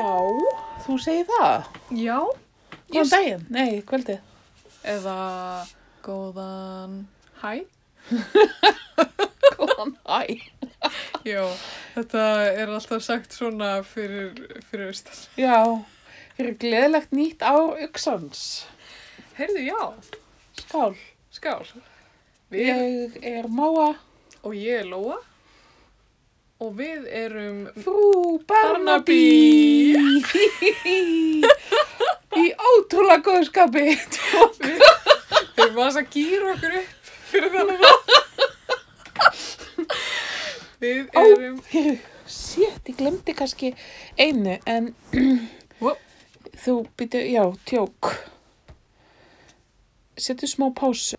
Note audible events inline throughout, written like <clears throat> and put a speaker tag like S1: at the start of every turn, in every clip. S1: þú segir það.
S2: Já.
S1: Góðan daginn. Nei, kvöldi.
S2: Eða góðan hæ.
S1: Góðan, æ.
S2: Já, þetta er alltaf sagt svona fyrir, fyrir austan.
S1: Já, fyrir gleðilegt nýtt á Uxans.
S2: Heyrðu, já,
S1: Skál.
S2: skál. Við erum,
S1: Ég er Móa,
S2: og ég er Lóa og við erum,
S1: frú
S2: Barnaby.
S1: <laughs> Barnaby. Í ótrúlega góðu skapi.
S2: við, við erum aðeins að gýra okkur upp fyrir <laughs> þannig að við
S1: Ó.
S2: erum,
S1: Sétt, ég glemdi kannski einu, en <clears throat>
S2: Whoop.
S1: þú býtu, já, tjók. Settu smá pásu.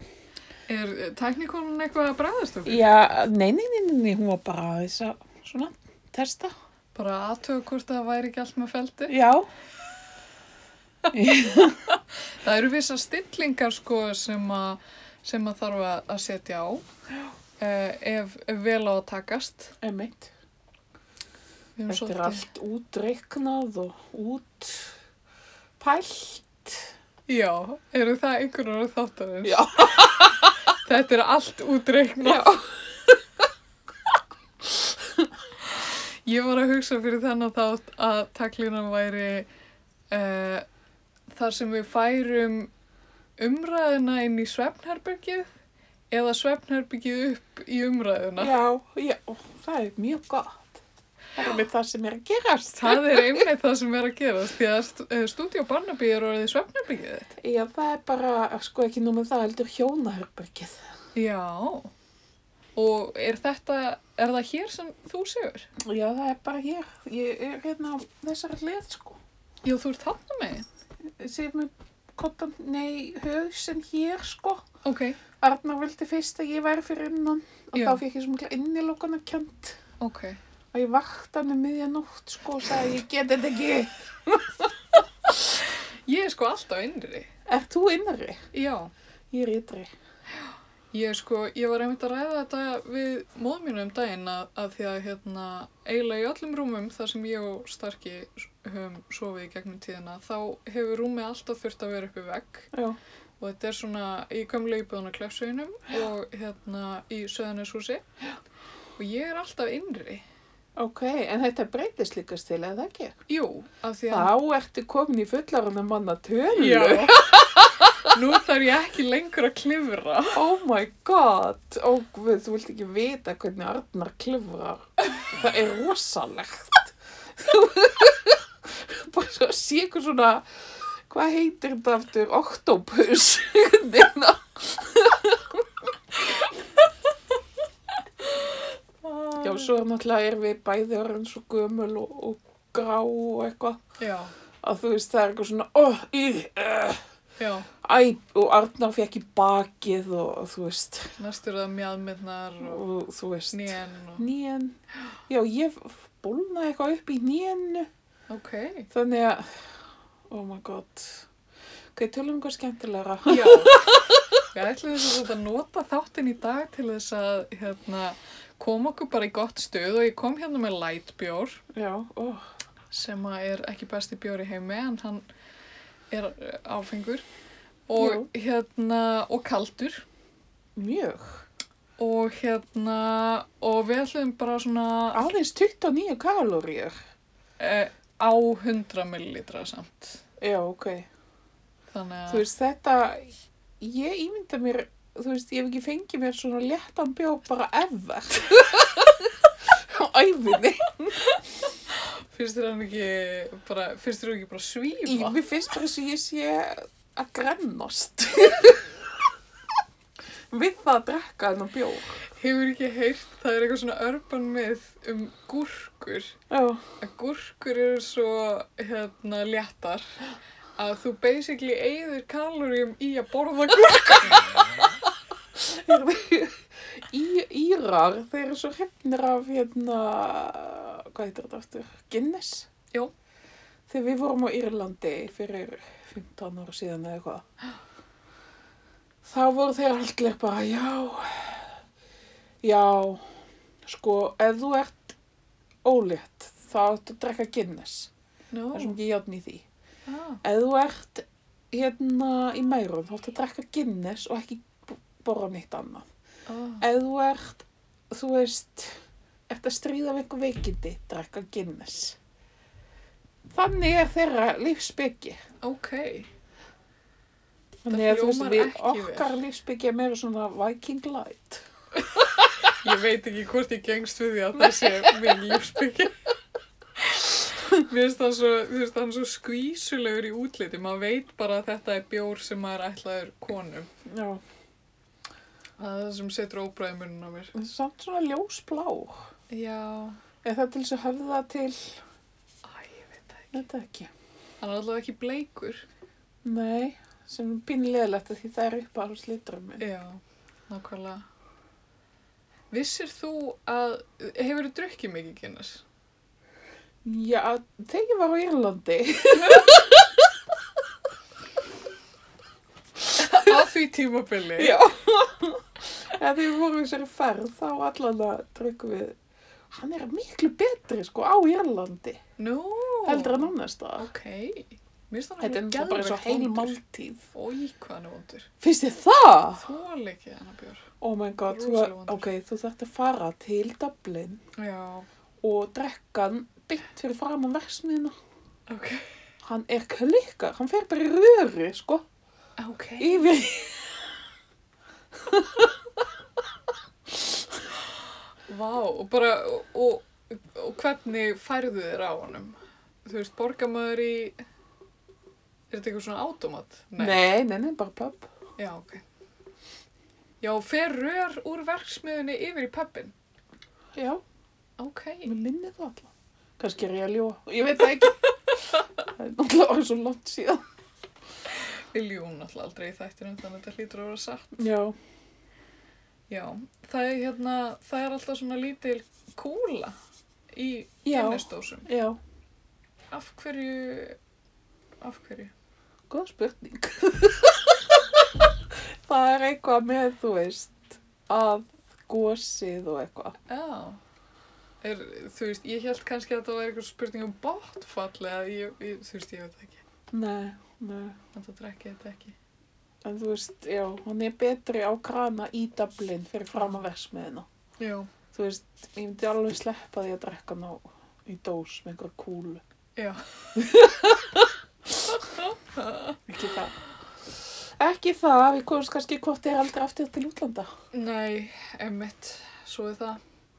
S2: er teknikonun eitthvað að bræðast okkur?
S1: Já, nei, nei, nei, nei, nei, hún var bara að þess að, svona, testa.
S2: Bara aðtöku hvort það væri ekki allt með feldi.
S1: Já,
S2: Það eru vissar stillingar sko sem að, sem að þarf að að setja á eh, ef, ef vel á að takast.
S1: einmitt.
S2: Við erum
S1: Þetta er
S2: svolítið-
S1: allt útreiknað og útpælt.
S2: Já, eru það einhverjar orð þáttarins?
S1: Já.
S2: <laughs> Þetta er allt útreiknað. Ég var að hugsa fyrir þennan þátt að taklínan væri uh, þar sem við færum umræðuna inn í svefnherbergið eða svefnherbergið upp í umræðuna.
S1: Já, já, það er mjög gott. Það er með það sem er að gerast.
S2: Það er einmitt það sem er að gerast því að stúdíu Barnaby er orðið svefnherbyggið þitt.
S1: Já, það er bara, sko, ekki nú með það, heldur hjónaherbergið.
S2: Já. Og er þetta, er það hér sem þú séur?
S1: Já, það er bara hér. Ég er hérna á þessari hlið, sko.
S2: Já, þú ert þarna með.
S1: Sér með kottan, nei, hausinn hér, sko.
S2: Ok,
S1: Arnar vildi fyrst að ég væri fyrir innan og
S2: Já.
S1: þá fikk ég svo mikla innilokana kjönd
S2: ok.
S1: og ég vakti hann um miðja nótt sko og sagði ég get þetta ekki.
S2: Ég er sko alltaf innri.
S1: Er þú innari?
S2: Já.
S1: Ég er ytri.
S2: Ég er sko, ég var einmitt að ræða þetta við móðum mínu um daginn að, að því að hérna eiginlega í öllum rúmum þar sem ég og Starki höfum sofið í gegnum tíðina þá hefur rúmið alltaf þurft að vera uppi vegg
S1: Já.
S2: og þetta er svona í gamla íbúðan á Klefsveginum og hérna í Söðaneshúsi og ég er alltaf innri
S1: Ok, en þetta breytist líkast til eða ekki?
S2: Jú, af því að
S1: Þá ertu komin í fullarunum manna tölu.
S2: Já. <laughs> Nú þarf ég ekki lengur að klifra
S1: Oh my god. Ó, guð, þú vilt ekki vita hvernig Arnar klifrar. Það er rosalegt. <laughs> bara svo sé ykkur svona, hvað heitir þetta aftur? Octopus. <laughs> Neina. Já, svo er náttúrulega er við bæði orðin svo gömul og, og grá og eitthvað.
S2: Já,
S1: Að þú veist, það er eitthvað svona, oh, í, uh,
S2: já
S1: æ, og Arnar fekk í bakið og, og þú veist,
S2: Næstur það mjadmyrnar og
S1: og þú veist.
S2: snén og...
S1: Nén. Já, ég bólnaði eitthvað upp í nénu.
S2: Ok
S1: Þannig að, oh my god. Ok, tölum eitthvað skemmtilegra.
S2: Já Við ætlum þess að nota þáttinn í dag til þess að hérna, koma okkur bara í gott stuð og ég kom hérna með lightbjór
S1: Já, oh,
S2: sem að er ekki besti bjór í heimi en hann er uh, áfengur og
S1: Jú.
S2: hérna og kaldur
S1: mjög.
S2: og hérna og við ætlum bara svona
S1: Aðeins 29 kaloríur.
S2: uh, á 100 millilitra samt
S1: Já, ok.
S2: þannig
S1: Þú
S2: að
S1: veist, þetta, ég ímynda mér, þú veist, ég hef ekki fengið mér svona léttan bjór bara ever. Á æfinni.
S2: finnst þér hann ekki bara, finnst þér hann ekki bara
S1: Í,
S2: svífa
S1: mér finnst bara eins og ég sé að <laughs> grennast. Við það að drekka þennan bjór.
S2: hefur ekki heyrt, það er eitthvað svona örban með um gúrkur
S1: Já.
S2: að gúrkur eru svo hérna léttar að þú basically eigður kaloríum í að borða gúrkur
S1: <laughs> Í, írar, þeir eru svo hefnir af hérna, hvað heitir þetta aftur? Guinness?
S2: Jú.
S1: Þegar við vorum á Írlandi fyrir 15 ára síðan eða eitthvað, þá voru þeir allir bara, já, já, sko, ef þú ert ólétt, þá áttu að drekka Guinness.
S2: no.
S1: Það er svo mikið játn í því.
S2: ah.
S1: Ef þú ert hérna í mærum, þá ætti að drekka Guinness og ekki b- borra neitt annað.
S2: ah.
S1: Ef þú ert, þú veist, ert að stríða við einhver veikindi, drekka Guinness. Þannig er þeirra lífsbyggi.
S2: ok
S1: Þannig að þú veist,
S2: hljómar
S1: við
S2: ekki vel.
S1: okkar lífsbyggi er meira svona Viking Light.
S2: ég veit ekki hvort ég gengst við því <laughs> að það sé minn lífsbyggja mér finnst hann svo, þú veist, hann svo skvísulegur í útliti maður veit bara að þetta er bjór sem maður ætlaður konum
S1: Já,
S2: það er það sem setur óbræði munum á mér
S1: en samt svona ljósblá.
S2: já,
S1: Er það til þess að höfða til,
S2: æ, ég veit það ekki
S1: þetta ekki.
S2: hann er allavega ekki bleikur
S1: Nei, sem er pínlegilegt því það er upp alls litrað minn.
S2: já, nákvæmlega vissir þú að hefur þú drukkið mikið
S1: <laughs>
S2: kynnes?
S1: Já, þegar ég var á Írlandi.
S2: á því tímabili
S1: Já. Þegar við vorum í þessari ferð þá allan að drukku við. Hann er miklu betri sko á Írlandi.
S2: nú,
S1: Heldur en annars það.
S2: ok, mér finnst hann
S1: Þetta er
S2: alveg
S1: náttúrulega bara
S2: geðveikt
S1: eins og heil
S2: vondur.
S1: máltíð.
S2: Ói, hvað hann er vondur.
S1: Finnst þið það?
S2: Þól ekki hennar bjór.
S1: Oh my god, þú,
S2: Rosalega vondur.
S1: ok, þú þarft að fara til Dublin
S2: Já,
S1: og drekkan byggt fyrir framan versmiðina.
S2: ok.
S1: Hann er klikkar, hann fer bara í röri, sko,
S2: Ok.
S1: yfir.
S2: Vá, og bara, og, og, og hvernig færðu þér á honum? Þú veist, borgar maður í, er þetta eitthvað svona automat?
S1: Nei, nei, nei, bara pub.
S2: Já, ok. Já, fer rör úr verksmiðunni yfir í pöppin?
S1: Já,
S2: Ok.
S1: mér minni það allan. Kannski er ég að ljóa, ég veit það <laughs> ekki. það er náttúrulega orðið svo langt síðan.
S2: Við ljúum náttúrulega aldrei í þættinum, þannig að þetta hlýtur að vera satt.
S1: Já,
S2: Já, það er hérna, það er alltaf svona lítil kúla í
S1: Já.
S2: kynnusdósum.
S1: já,
S2: Af hverju, af hverju?
S1: góð <laughs> spurning. það er eitthvað með, þú veist, að gósið og eitthvað.
S2: Já. Er, þú veist, ég held kannski að þetta var eitthvað spurning um botfall eða ég, ég, þú veist, ég veit það ekki.
S1: Nei, nei,
S2: Þetta drekki þetta ekki.
S1: en þú veist, já, hann er betri á krana í Dublin fyrir fram að versmiðina.
S2: Já.
S1: Þú veist, ég myndi alveg sleppa því að drekka ná í dós með einhver kúlu.
S2: Já.
S1: Ekki það. Ekki það, við komumst kannski hvort ég er aldrei aftur til útlanda.
S2: Nei, emmitt, svo er það.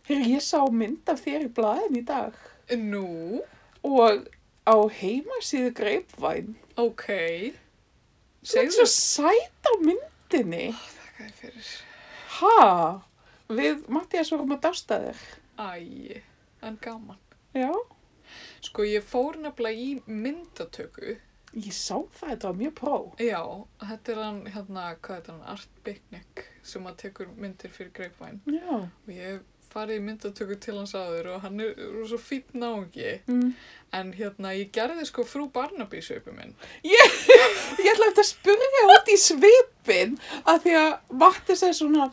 S1: Hér, ég sá mynd af þér í blaðin í dag
S2: Nú,
S1: og á heimasíðu greipvæn
S2: ok.
S1: Þú ert
S2: Segðu
S1: svo sæt á myndinni.
S2: Þakka þér fyrir.
S1: Ha? Við Mattias vorum að dásta þér.
S2: Æ, en gaman.
S1: Já.
S2: Sko, ég fór nefnilega í myndatöku.
S1: Ég sá það, þetta var mjög pró.
S2: Já, þetta er hann, hérna, hvað er hann, Art Bicknick sem að tekur myndir fyrir Greipvæn.
S1: Já.
S2: og ég hef farið í myndatöku til hans áður og hann er svo fýtt náungi
S1: Mm.
S2: en hérna ég gerði sko frú Barnaby sveipu minn
S1: Ég ætla eftir að spurja út í svipin að því að Mattias er svona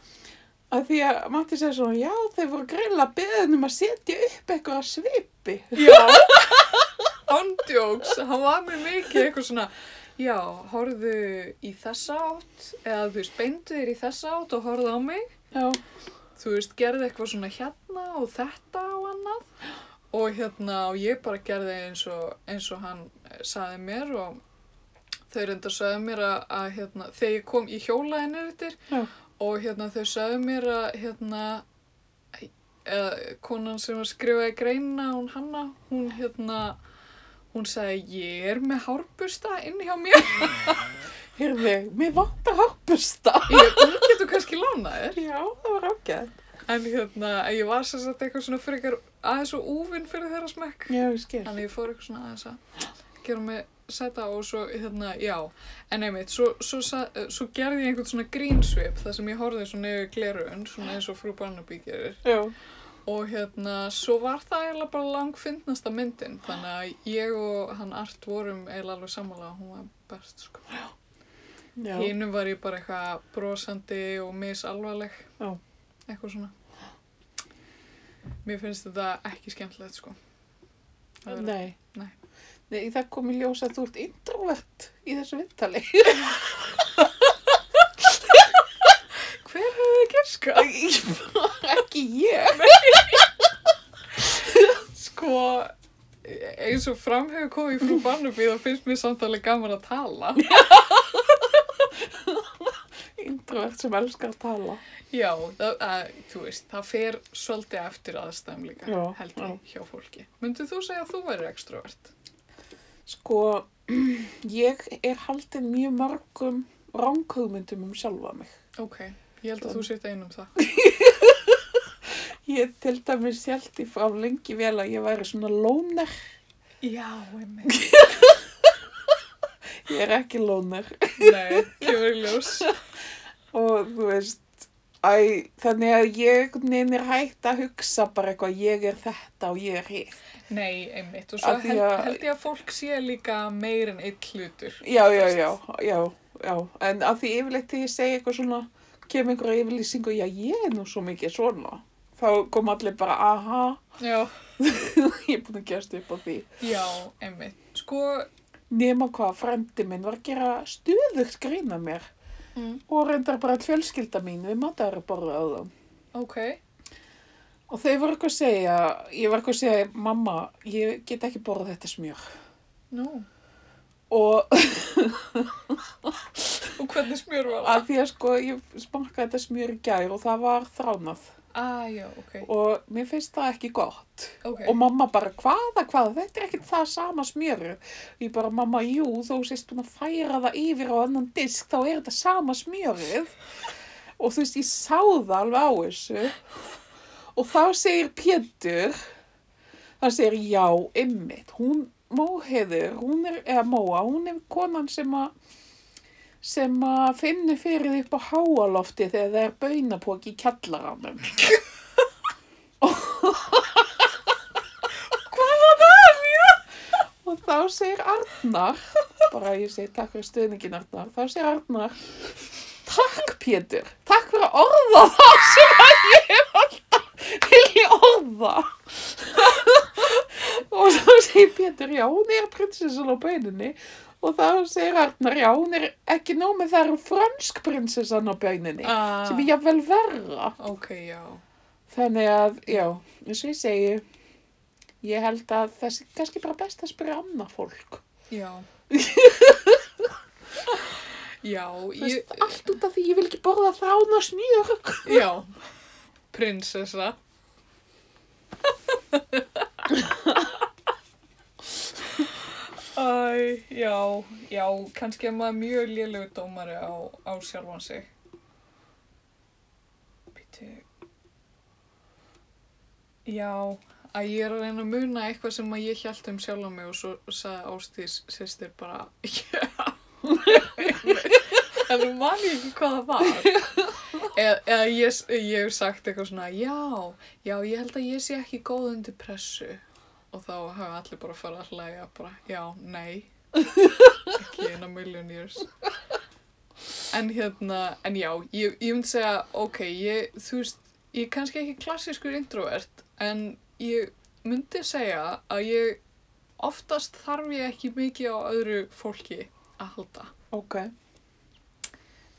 S1: að því að Mattias er svona já, þeir voru greinlega beðin um að setja upp eitthvað af svipi.
S2: <laughs> já ondjóks, hann var mér mikið eitthvað svona já, horfðu í þessa átt eða þú veist, beindu þér í þessa átt og horfðu á mig
S1: Já.
S2: þú veist, gerði eitthvað svona hérna og þetta og annað og hérna, og ég bara gerði eins og, eins og hann eh, sagði mér og þau reyndar sagði mér að, að hérna, þegar ég kom í hjólaðinu eftir
S1: Já.
S2: og hérna þau sagði mér að hérna eða, konan sem var skrifaði greina hún Hanna, hún hérna hún sagði ég er með hárbusta inn hjá mér
S1: Hérði, mér vantar harpusta.
S2: ég hún getur kannski lánað þér
S1: Já, það var ágætt.
S2: en hérna ég var sem sagt eitthvað svona frekar aðeins og úfinn fyrir þeirra smekk
S1: Já, ég skil.
S2: þannig ég fór eitthvað svona aðeins að gera mig sæta og svo hérna já en einmitt svo, svo, sa- eh, svo gerði ég einhvern svona grínsvip þar sem ég horfði svona yfir gleruun svona eins og frú Barnaby gerir
S1: Já.
S2: Og hérna, svo var það eiginlega bara langfindnasta myndin, þannig að ég og hann Art vorum eiginlega alveg sammála að hún var best, sko.
S1: Já.
S2: Hínum var ég bara eitthvað brosandi og misalvarleg,
S1: Já.
S2: eitthvað svona. Mér finnst þetta ekki skemmtilegt, sko. Það er-
S1: Nei.
S2: Nei.
S1: Nei, það kom í ljós að þú ert introvert í þessu vittali.
S2: Hver hefði gerska?
S1: Ekki ég.
S2: Sko, eins og fram hefur komið frú Barnaby þá finnst mér samt alveg gaman að tala.
S1: <laughs> Introvert sem elskar að tala.
S2: Já, það, að, þú veist, það fer svolítið eftir aðstæðum líka,
S1: Já,
S2: held ég, hjá fólki. Myndið þú segja að þú væri ekstrovert?
S1: Sko, ég er haldin mjög mörgum ránkugmyndum um sjálfa mig.
S2: Ok, ég held að þú sitt einum það.
S1: Ég til dæmis held í frá lengi vel að ég væri svona lóner.
S2: Já, einmitt.
S1: Ég er ekki lóner.
S2: Nei, kemur í
S1: <laughs>
S2: ljós.
S1: Og þú veist, æ, þannig að ég neynir hægt að hugsa bara eitthvað, ég er þetta og ég er hitt.
S2: Nei, einmitt. Og svo
S1: Af því
S2: held,
S1: að-
S2: held ég að fólk sé líka meir en eitt hlutur.
S1: Já, já, já, já, já. En að því yfirleitt þegar ég segi eitthvað svona, kemur einhverja yfirlýsingu, já, ég er nú svo mikið svona. Þá kom allir bara, aha, <laughs>
S2: Já.
S1: ég er búin að gerst upp á því.
S2: Já, einmitt. Sko,
S1: Nema hvað, frendi minn var að gera stuðugt grína mér
S2: mm.
S1: og reyndar bara að fjölskylda mín við matara borða á þá.
S2: ok.
S1: Og þau voru eitthvað að segja, ég var eitthvað að segja, mamma, ég get ekki borðað þetta smjör.
S2: Nú.
S1: Og <laughs>
S2: Og hvernig smjör var það?
S1: að því að sko, ég smakkaði þetta smjör í gær og það var þránað.
S2: Ah, já, ok.
S1: Og mér finnst það ekki gott.
S2: Ok,
S1: Og mamma bara, hvaða, hvaða, þetta er ekkert það sama smjöru. Ég bara, mamma, jú, þú sést búin að færa það yfir á annan disk, þá er þetta sama smjörið. Og þú veist, ég sá það alveg á þessu. Og þá segir Pétur, þá segir, já, ymmit, hún, Móheður, hún er, eða Móa, hún er konan sem að, sem að finnur fyrir því upp á háalofti þegar það er baunapóki í kjallaranum. Og þá segir Arnar, bara ég segi takk fyrir stuðningin Arnar, þá segir Arnar, takk Pétur, takk fyrir að orða það sem að ég hef alltaf vilja orða. og þá segir Pétur, já, hún er prinsessan á beininni og þá segir Arnar, já, hún er ekki nóg með það er hún fransk prinsessan á beininni,
S2: Ah.
S1: sem er jafnvel verra.
S2: ok, já.
S1: Þannig að, já, eins og ég segi, ég held að það sé kannski bara best að spyrja annað fólk. <laughs>
S2: Já. já,
S1: Þú
S2: ég,
S1: veist, allt út af því ég vil ekki borða þrána smjör.
S2: já. Prinsessa. Æ, já, já, kannski er maður mjög lélögu dómari á, á sjálfan sig. Býtu. Já, að ég er að reyna að muna eitthvað sem að ég hjælt um sjálf á mig og svo sagði Ástís sýstir bara, <laughs> já, en þú man ég ekki hvað það var. Eða, eða ég, ég hef sagt eitthvað svona, já, já, ég held að ég sé ekki góð undir pressu. Og þá hafa allir bara farið að hlæja bara, já, nei, ekki in a million years. En hérna, en já, ég, ég myndi segja, ok, ég, þú veist, ég er kannski ekki klassískur introvert, en ég myndi segja að ég oftast þarf ég ekki mikið á öðru fólki að halda.
S1: Ok.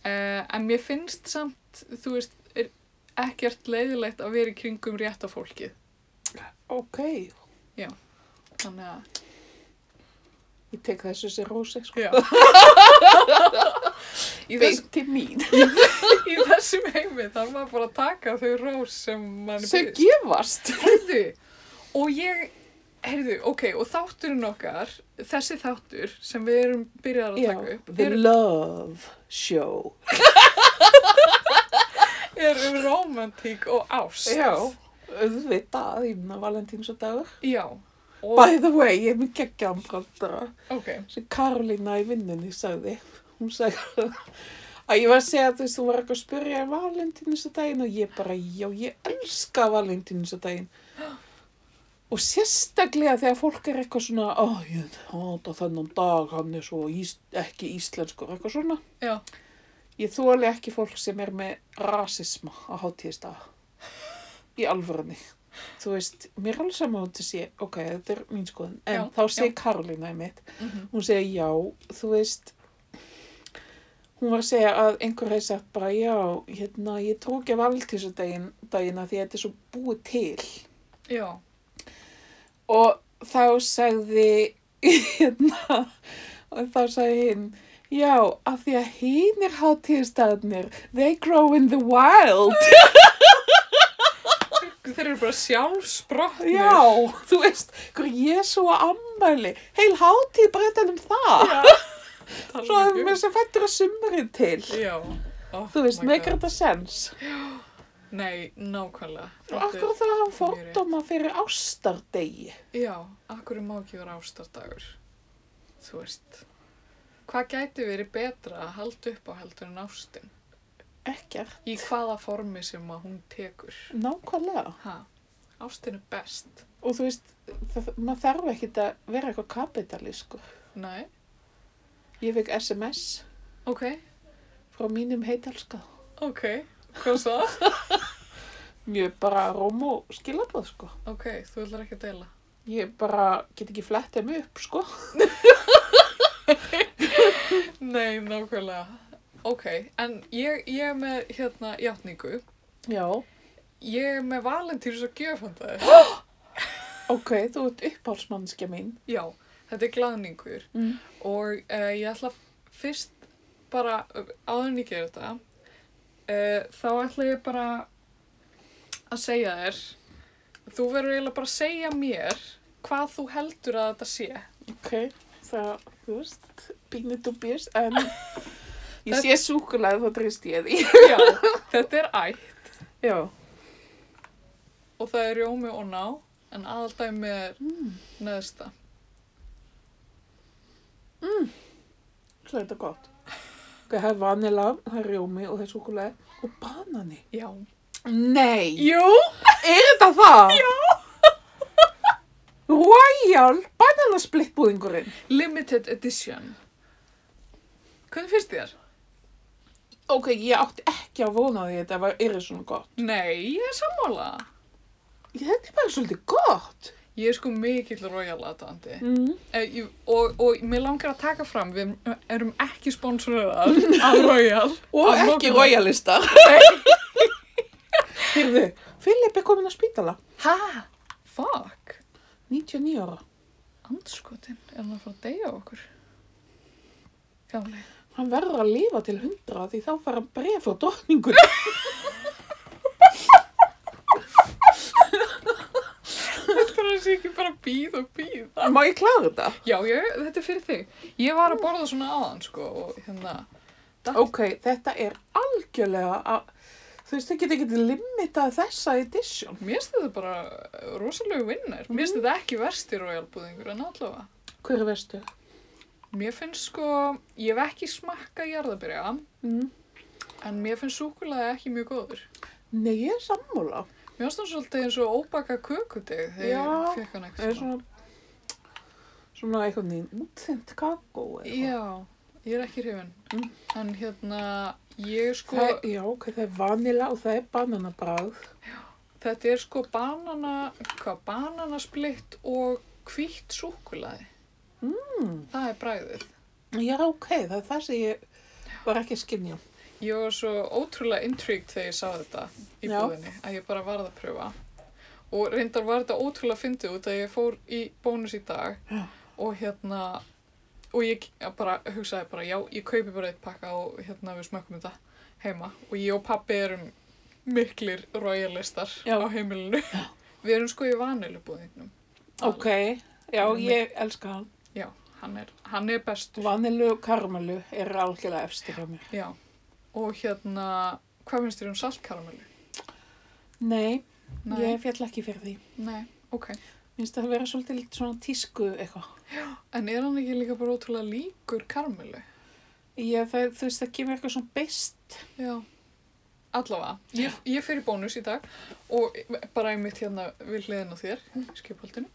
S2: Uh, en mér finnst samt, þú veist, er ekkert leiðilegt að vera í kringum rétta fólkið.
S1: Ok.
S2: Þannig að,
S1: Ég tek þessu sér rósi, sko. <laughs>
S2: já. í, þess,
S1: Beint til mín.
S2: í þessum heimi þarf maður bara að taka þau rós sem mann
S1: Sem gefast.
S2: Heyrðu, og ég, heyrðu, ok, og þátturinn okkar, þessi þáttur sem við erum byrjar að
S1: Já,
S2: taka upp,
S1: the
S2: er,
S1: love show.
S2: er um romantík og ást.
S1: Já, auðvitað, ég minna Valentíns og dagur.
S2: Já. Og,
S1: By the way, ég er mjög geggjaðan brandara.
S2: ok,
S1: sem Karolina í vinnunni sagði. Hún sagði að ég var að segja að þú veist, hún var eitthvað að spyrja um valentínus og ég bara, já, ég elska valentínus Og sérstaklega þegar fólk er eitthvað svona, ó, ég hata þennan dag, hann er svo ís, ekki íslenskur, eitthvað svona.
S2: já.
S1: Ég þóli ekki fólk sem er með rasisma á hátíðistag. Í alvörunni. þú veist, mér er alveg sama hún til sé, ok, þetta er mín skoðun, en
S2: Já,
S1: þá sé
S2: já.
S1: Karolina einmitt,
S2: Mm -hmm.
S1: hún segi já, þú veist, hún var að segja að einhver hefði sagt bara já, hérna, ég trú ekki að valdísu daginn, dagina því að þetta er svo búið til.
S2: Já.
S1: Og þá sagði, hérna, og þá sagði hinn, já, af því að hinn er hátíðstæðnir, they grow in the
S2: <laughs>
S1: wild.
S2: Þeir eru bara sjálfsbrotnir.
S1: Já, þú veist, hver Jésu á ammæli, heil hátíð bara utan um það.
S2: um
S1: Svo að mér sem fættur að sumrin til.
S2: Já. Oh,
S1: Þú veist,
S2: my
S1: meikar
S2: God.
S1: þetta sens.
S2: Nei, nákvæmlega.
S1: Og
S2: Þetta er-
S1: akkur það
S2: mjög
S1: hann
S2: rétt.
S1: fordóma fyrir ástardegi.
S2: Já, akkur má ekki vera ástardagur. Þú veist, hvað gæti verið betra að halda upp á heldur en ástin?
S1: Ekkert,
S2: Í hvaða formi sem að hún tekur?
S1: nákvæmlega.
S2: Ha, ástin er best.
S1: Og þú veist, það, maður þarf ekkit að vera eitthvað kapitalískur.
S2: Nei,
S1: Ég fekk SMS
S2: ok,
S1: frá mínum heitalska.
S2: ok, hvað svo?
S1: Mjög bara róm og skilabóð, sko.
S2: ok, þú ætlar ekki að deila.
S1: Ég bara get ekki flettið mig upp, sko.
S2: Nei, nákvæmlega. Ok, en ég, ég er með hérna játningu.
S1: Já.
S2: Ég er með Valentínus og gjöfandaði.
S1: Ok, þú ert uppáhaldsmannskja mín.
S2: Já, þetta er glaðningur
S1: Mm.
S2: og uh, ég ætla fyrst bara, áður en ég gera þetta, uh, þá ætla ég bara að segja þér, þú verður eiginlega bara að segja mér hvað þú heldur að þetta sé.
S1: Ok, það, þú veist, pínu dubjus, en <laughs> ég sé súkulega þá treyst ég því.
S2: Já, þetta er ætt
S1: Já.
S2: og það er rjómi og ná, en aðaldæmi er
S1: Mm.
S2: neðsta.
S1: Svo er þetta gott. Ok, það er vanila, það er rjómi og það er súkulega og banani.
S2: Já.
S1: Nei,
S2: Jú!
S1: er þetta það? Já. <laughs> Royal bananasplittbúðingurinn.
S2: Limited edition. Hvernig finnst þér?
S1: Ok, ég átti ekki að vona því að þetta var yrið svona gott.
S2: Nei, ég er sammála.
S1: Þetta er bara svolítið gott.
S2: Ég er sko mikill royal-aðdandi.
S1: Mm.
S2: Eh, ég- og, og mér langar að taka fram við erum ekki sponsoraðar af Royal <laughs>
S1: Og
S2: Að
S1: ekki
S2: lokum-
S1: <laughs> royalistar. Hyrðu, Filip er komin á spítala.
S2: ha, fuck
S1: 99 ára.
S2: andskotin, er hann að fara að deyja af okkur gamli <laughs>
S1: Hann verður að lifa til hundra því þá fara hann breið frá drottningun.
S2: þetta er að sé ekki bara býð og býð
S1: <laughs> Má ég klára þetta?
S2: já, ég, þetta er fyrir þig ég var að borða svona aðan sko og hérna,
S1: Ok, þetta er algjörlega að, þú veist, það geta ekki limitað þessa edition.
S2: mér finnst þetta bara eh, rosalegu vinnar, mér finnst þetta ekki versti Royal búðingur en allavega
S1: Hver veistu?
S2: mér finnst sko, ég hef ekki smakka jarðabyrja
S1: Mm.
S2: en mér finnst súkulega ekki mjög góður
S1: Nei, ég er sammála.
S2: Mér finnst hann svolítið eins og óbaka kökudeg þegar
S1: Já,
S2: ég fekk hann
S1: Það er
S2: eitthvað.
S1: svona, svona eitthvað nýjum útþynt kakó eða eitthvað.
S2: Já, ég er ekki hrifin.
S1: Mm.
S2: En hérna, ég er sko,
S1: Það er, já, ok, það er vanila og það er bananabráð.
S2: þetta er sko banana, hvað, bananasplitt og hvítt súkulaði.
S1: Mm.
S2: Það er bræðið.
S1: Já, ok, það er það sem ég var ekki að skynja.
S2: Ég var svo ótrúlega intrigued þegar ég sá þetta í
S1: Já.
S2: búðinni, að ég bara varð að pröfa. Og reyndar var þetta ótrúlega fyndið út að ég fór í bónus í dag
S1: Já.
S2: og hérna, og ég bara hugsaði bara, já, ég kaupi bara eitt pakka og hérna við smökkum þetta heima og ég og pabbi erum miklir royalistar
S1: Já.
S2: á heimilinu. <laughs> Við erum sko í vanilubúðinum.
S1: Ok, já, ég elska hann.
S2: Já, hann er, hann er bestur.
S1: Vanilu og karmelu eru algjörlega efstir hjá mér.
S2: Já, og hérna, hvað finnst þér um saltkaramellu?
S1: Nei,
S2: Nei,
S1: ég fjall ekki fyrir því.
S2: nei, ok.
S1: Minnst það að vera svolítið lítið svona tísku eitthvað.
S2: En er hann ekki líka bara ótrúlega líkur karmelu?
S1: Ég, það, þú veist, það kemur eitthvað svona beist.
S2: Já. Allavega, ég, ég fer í bónus í dag og bara einmitt hérna við hliðin á þér, skipholdinu.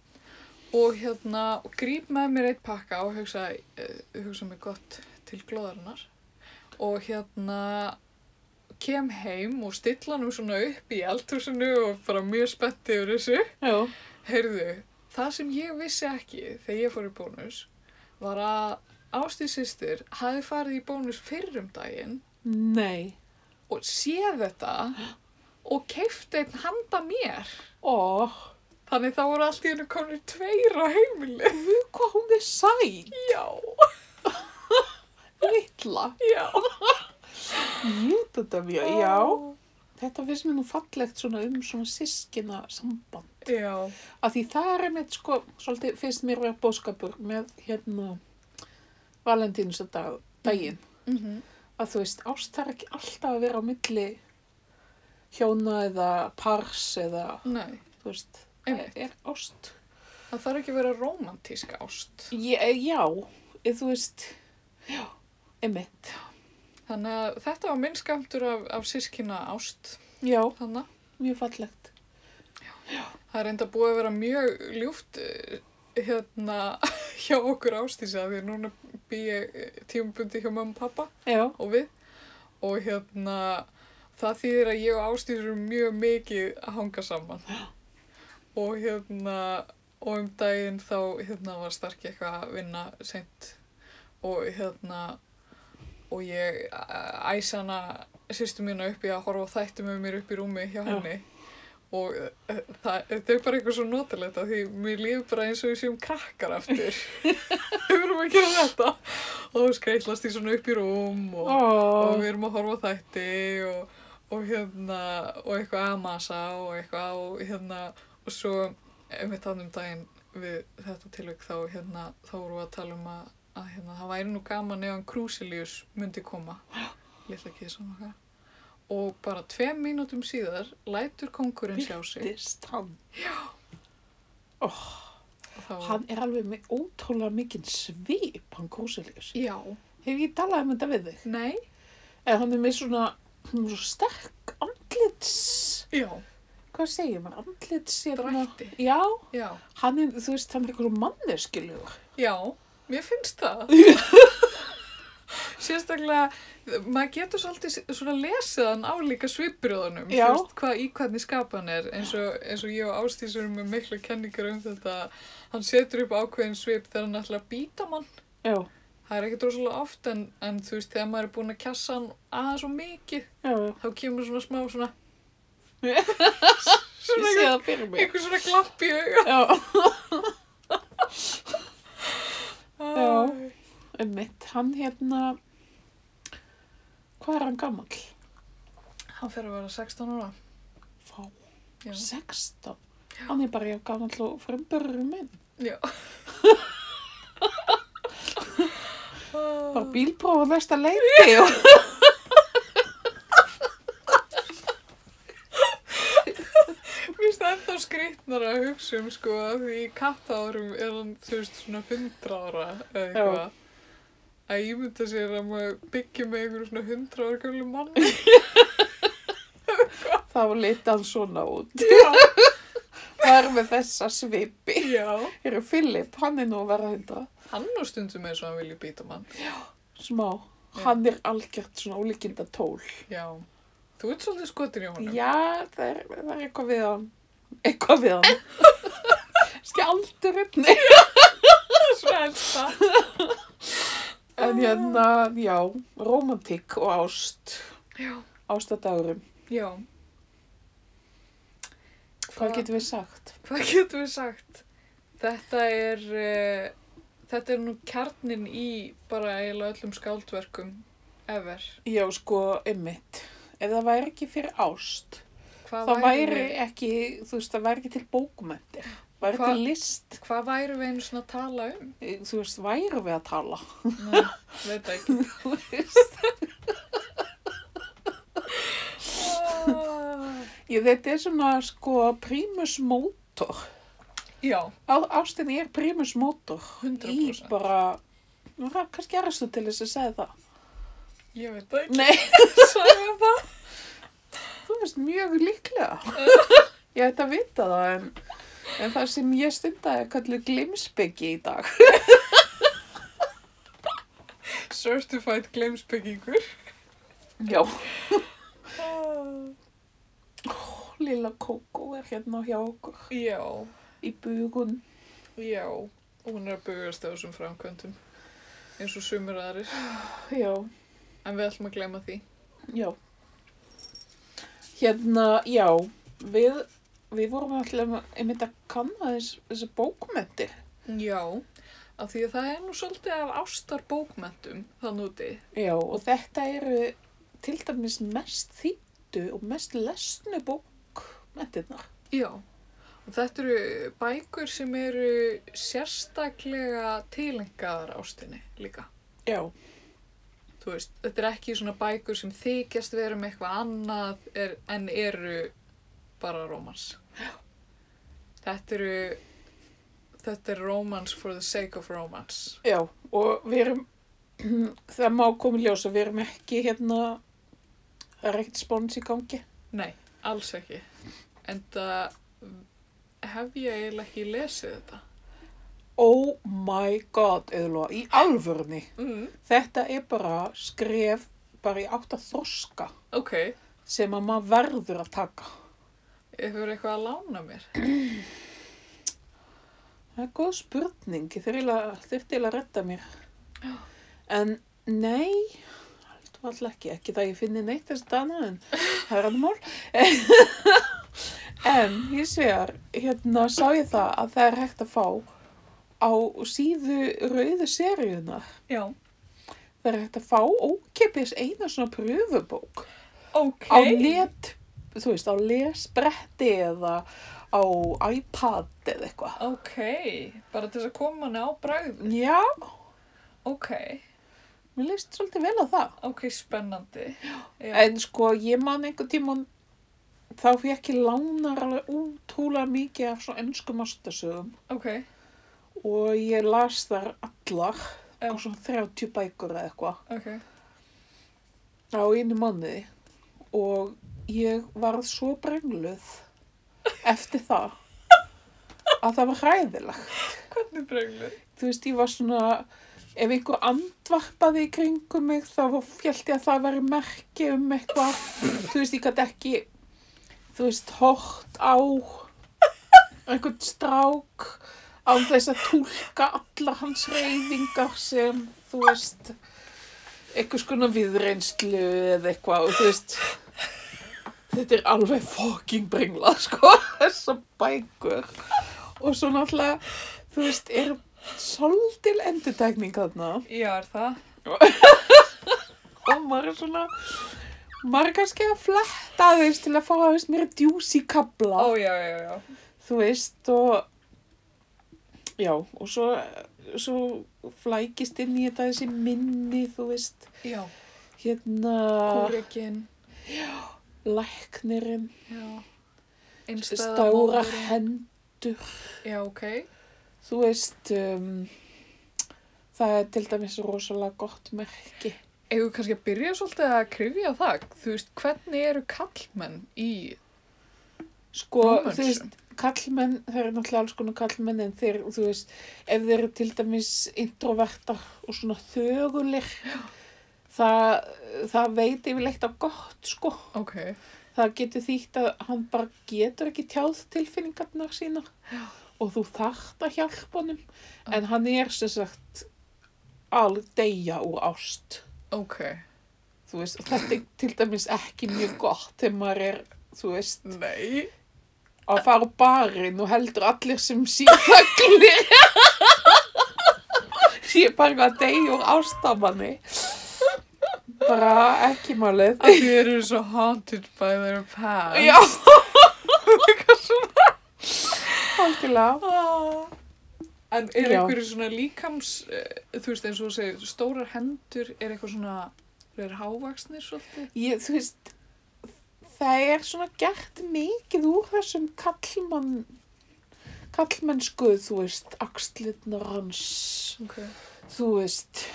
S2: Og hérna, og gríp með mér eitt pakka og hugsa, uh, hugsa mig gott til glóðarinnar. Og hérna, kem heim og stilla nú svona upp í eldhúsinu og bara mjög spennt yfir þessu.
S1: já,
S2: Heyrðu, það sem ég vissi ekki þegar ég fór í bónus var að Ástíð sýstir hafi farið í bónus fyrrum daginn
S1: nei,
S2: og séð þetta og keift einn handa mér.
S1: ó,
S2: Þannig þá voru allt í hennu komin tveir á
S1: <laughs>
S2: heimili.
S1: guð hvað hún er sæl,
S2: Já,
S1: litla,
S2: já.
S1: júdadamja, já, þetta finnst mér nú fallegt svona um svona sískina samband.
S2: Já,
S1: að því það er einmitt sko svolítið finnst mér vera bóskapur með hérna valentínusdaginn
S2: mm
S1: að þú veist ást þarf ekki alltaf að vera á milli hjóna eða pars eða
S2: nei.
S1: þú veist
S2: Einmitt.
S1: er ást
S2: Það þarf ekki að vera rómantísk ást.
S1: ég, eh, já, eða þú veist já, einmitt
S2: Þannig að þetta var minn skamtur af, af sískina ást.
S1: já,
S2: Þannig
S1: mjög fallegt
S2: það er enda búið að vera mjög ljúft eh, hérna <laughs> hjá okkur ástísi að því núna bý ég eh, tímabundi hjá mamma og pappa
S1: já,
S2: og við og hérna það þýðir að ég og Ástíður eru mjög mikið að hanga
S1: <gasps>
S2: saman og hérna og um daginn þá hérna var starki eitthvað að vinna seint og hérna og ég eh, æsa hana sýstu mína upp í að horfa á þættu með mér upp í rúmi hjá
S1: Já.
S2: henni og eh, það, þetta er bara eitthvað svo notalegt að því mér líður bara eins og við séum krakkar
S1: <laughs>
S2: aftur við verum að gera þetta og skreitlast í svona upp í rúm og og
S1: ó,
S2: við erum að horfa á þætti og, og hérna og eitthvað að masa og eitthvað og hérna og svo einmitt þannig um daginn við þetta tilvik þá hérna þá vorum við að tala um að, að hérna, það væri nú gaman ef hann Krúsilius myndi koma litla kísan okkar og bara tveim mínútum síðar lætur kongurinn sjá sig
S1: Birtist hann
S2: og þá,
S1: hann er alveg með ótrúlega mikinn svip, hann Krúselius
S2: já,
S1: hef ég talað um þetta við þig
S2: nei
S1: eða hann er með svona, hann er svo sterk andlits,
S2: já,
S1: hvað segir maður, andlits hérna,
S2: drætti,
S1: já,
S2: já
S1: hann er, þú veist, hann er eitthvað manneskilugur.
S2: Já, mér finnst
S1: <laughs>
S2: það. Sérstaklega, maður getur svolítið svona lesið hann á líka svipriðunum,
S1: Já.
S2: hvað, í hvernig skapan er, eins og, eins og ég og Ástís erum með miklu kenningar um þetta, hann setur upp ákveðin svip þegar hann ætla að býta mann,
S1: Já,
S2: það er ekki droslega oft, en, en þú veist, þegar maður er búin að kjassa hann aðeins og mikið,
S1: já, já,
S2: þá kemur svona smá
S1: <laughs>
S2: svona,
S1: ég sé það fyrir mig.
S2: einhver svona glapp í auga.
S1: Já, Já.
S2: Æ.
S1: um hann hérna, hvað er hann gammal?
S2: Hann fer að vera 16 ára.
S1: Fá,
S2: Já.
S1: 16. Hann er bara já gammal og frumburður minn.
S2: Já.
S1: Bara bílprófa næsta leiti og...
S2: Mér finnst það ennþá skrýtnar að hugsa um sko að því í kattaárum er hann þú veist svona 100 ára eða eitthvað. Að ég mynda sér að maður byggja með einhverjum svona 100 ára gömlu
S1: <laughs>
S2: manni.
S1: Þá liti hann svona út.
S2: <laughs> Já.
S1: Það er með þessa svipi.
S2: Já.
S1: Eru Filip, hann er nú að vera hundra.
S2: Hann nú stundum eins og hann vilji býta mann.
S1: smá.
S2: Já.
S1: Hann er algjört svona ólíkinda tól.
S2: Já. Þú ert svolítið skotin í honum.
S1: Já, það er, það er eitthvað við hann. Eitthvað við hann.
S2: <laughs>
S1: Skjaldurinn. Nei. <laughs>
S2: Svelta.
S1: En hérna, já, romantík og ást.
S2: Já.
S1: Ástadagurum.
S2: Já.
S1: Hvað getum við sagt?
S2: Hvað getum við sagt? Þetta er, uh, þetta er nú kjarnin í bara eiginlega öllum skáldverkum ever.
S1: Já, sko, ymmit. Ef það væri ekki fyrir ást,
S2: Hvað
S1: þá væri
S2: værum við-
S1: ekki, þú veist, það væri ekki til bókmyndir. Væri
S2: Hvað-
S1: til list,
S2: Hvað væru við einu svona að tala um?
S1: þú veist, væri við að tala. <laughs>
S2: Nei, veit það ekki.
S1: Þú veist,
S2: Ah,
S1: ég, þetta er svona, sko, primus motor.
S2: Já,
S1: Á- Ástin er primus motor
S2: 100%.
S1: í bara, nú var kannski erastu til þess að segja það.
S2: ég veit það ekki.
S1: Nei,
S2: Sæði það?
S1: þú veist mjög <laughs> líklega. Ég ætti að vita það en, en það sem ég stundaði er kallu glimsbyggi í dag.
S2: Certified glemsbyggingur.
S1: Já. lilla Kókó er hérna hjá okkur
S2: Já,
S1: í bugun.
S2: já, hún er að bugast á þessum framkvæmdum eins og sumur aðrir,
S1: Já,
S2: en við ætlum að gleyma því.
S1: já. Hérna, já, við, við vorum alltaf einmitt að kanna þess, þessi bókmyndir.
S2: Já, af því að það er nú svolítið af ástar bókmentum þann úti.
S1: Já, og þetta eru til dæmis mest þýttu og mest lesnu bókmyndirnar.
S2: Já, og þetta eru bækur sem eru sérstaklega tilengaðar ástinni líka.
S1: Já,
S2: Þú veist, þetta er ekki svona bækur sem þykjast vera með eitthvað annað er, en eru bara rómans. Þetta eru, þetta er rómans for the sake of romance.
S1: já, og við erum, <clears throat> það má komið ljós að við erum ekki hérna, það er ekkert spóns í gangi.
S2: Nei, alls ekki. En það hef ég eiginlega ekki lesið þetta.
S1: Oh my god, Eðló, í alvörni.
S2: Mm.
S1: Þetta er bara skref bara í átt að þroska
S2: Ok,
S1: sem að maður verður að taka.
S2: hefur eitthvað að lána mér?
S1: Það er góð spurning, ég þurfti eiginlega að redda mér. En nei, heldur alltaf ekki, ekki það ég finni neitt þess dana, en það er annar mál. <laughs> en hins vegar, hérna sá ég það að það er hægt að fá á síðu rauðu seríunar.
S2: Já.
S1: Það er hægt að fá ókipis eina svona pröfubók.
S2: Ok.
S1: á net, þú veist, á lesbretti eða á iPad eða eitthvað.
S2: Ok, bara til þess að koma hann á bræð.
S1: Já,
S2: Ok,
S1: mér leist svolítið vel á það.
S2: ok, spennandi. Já.
S1: En sko, ég man einhver tíman, þá fekk ég lánar alveg útrúlega mikið af svona ennskum ástasögum
S2: Ok,
S1: og ég las þar allar
S2: Já.
S1: á svona 30 bækur eða eitthvað
S2: ok,
S1: á einu manniði og ég varð svo
S2: <laughs>
S1: brengluð eftir það að það var hræðilega.
S2: hvernig bræðlur?
S1: þú veist, ég var svona, ef einhver andvarpaði í kringum mig, þá var- hélt ég að það væri merki um eitthvað, þú veist, ég gæti ekki, þú veist, hort á einhvern strák án þess að túlka allar hans reyfingar sem, þú veist, einhvers konar viðreynslu eða eitthvað, og þú veist, þetta er alveg fucking brenglað, <laughs> sko, þessa bækur. Og svo náttúrulega, þú veist, er svolítil endurtækning þarna
S2: Já, er það?
S1: og maður er svona maður er kannski að fletta aðeins til að fá aðeins meira djús í kabla
S2: Ó, já, já, já.
S1: þú veist og já og svo, svo flækist inn í þetta þessi minni þú veist
S2: Já,
S1: hérna
S2: kúrikinn,
S1: læknirinn
S2: já. Einstæða
S1: stára
S2: móðirin.
S1: hendur
S2: Já, ok,
S1: þú veist um, það er til dæmis rosalega gott merki
S2: eigum við kannski að byrja svolítið að krifja það. Þú veist, hvernig eru kallmenn í
S1: sko þú veist
S2: romansum?
S1: kallmenn, það eru náttúrulega alls konar kallmenn en þeir, þú veist, ef þeir eru til dæmis introvertar og svona þögulir það, það veit yfirleitt á gott, sko
S2: Ok,
S1: það getur þýtt að hann bara getur ekki tjáð tilfinningarnar sínar og þú þarft að hjálpa honum en hann er sem sagt alveg deyja úr ást
S2: ok.
S1: þú veist, og þetta er til dæmis ekki mjög gott þegar maður er, þú veist
S2: Nei.
S1: að fara á barinn og heldur allir sem síðan glir ég er bara eitthvað að deyja úr ástamanni bara ekki málið
S2: Að þið eru svo haunted by their past.
S1: já algjörlega
S2: Ah. En er
S1: Já.
S2: einhverju svona líkams, eh, þú veist eins og þú segir, stórar hendur, er eitthvað svona, þú er hávaksnir svolítið?
S1: ég, þú veist það er svona gert mikið úr þessum kallmann kallmennsku þú veist axlirnar hans
S2: Ok.
S1: þú veist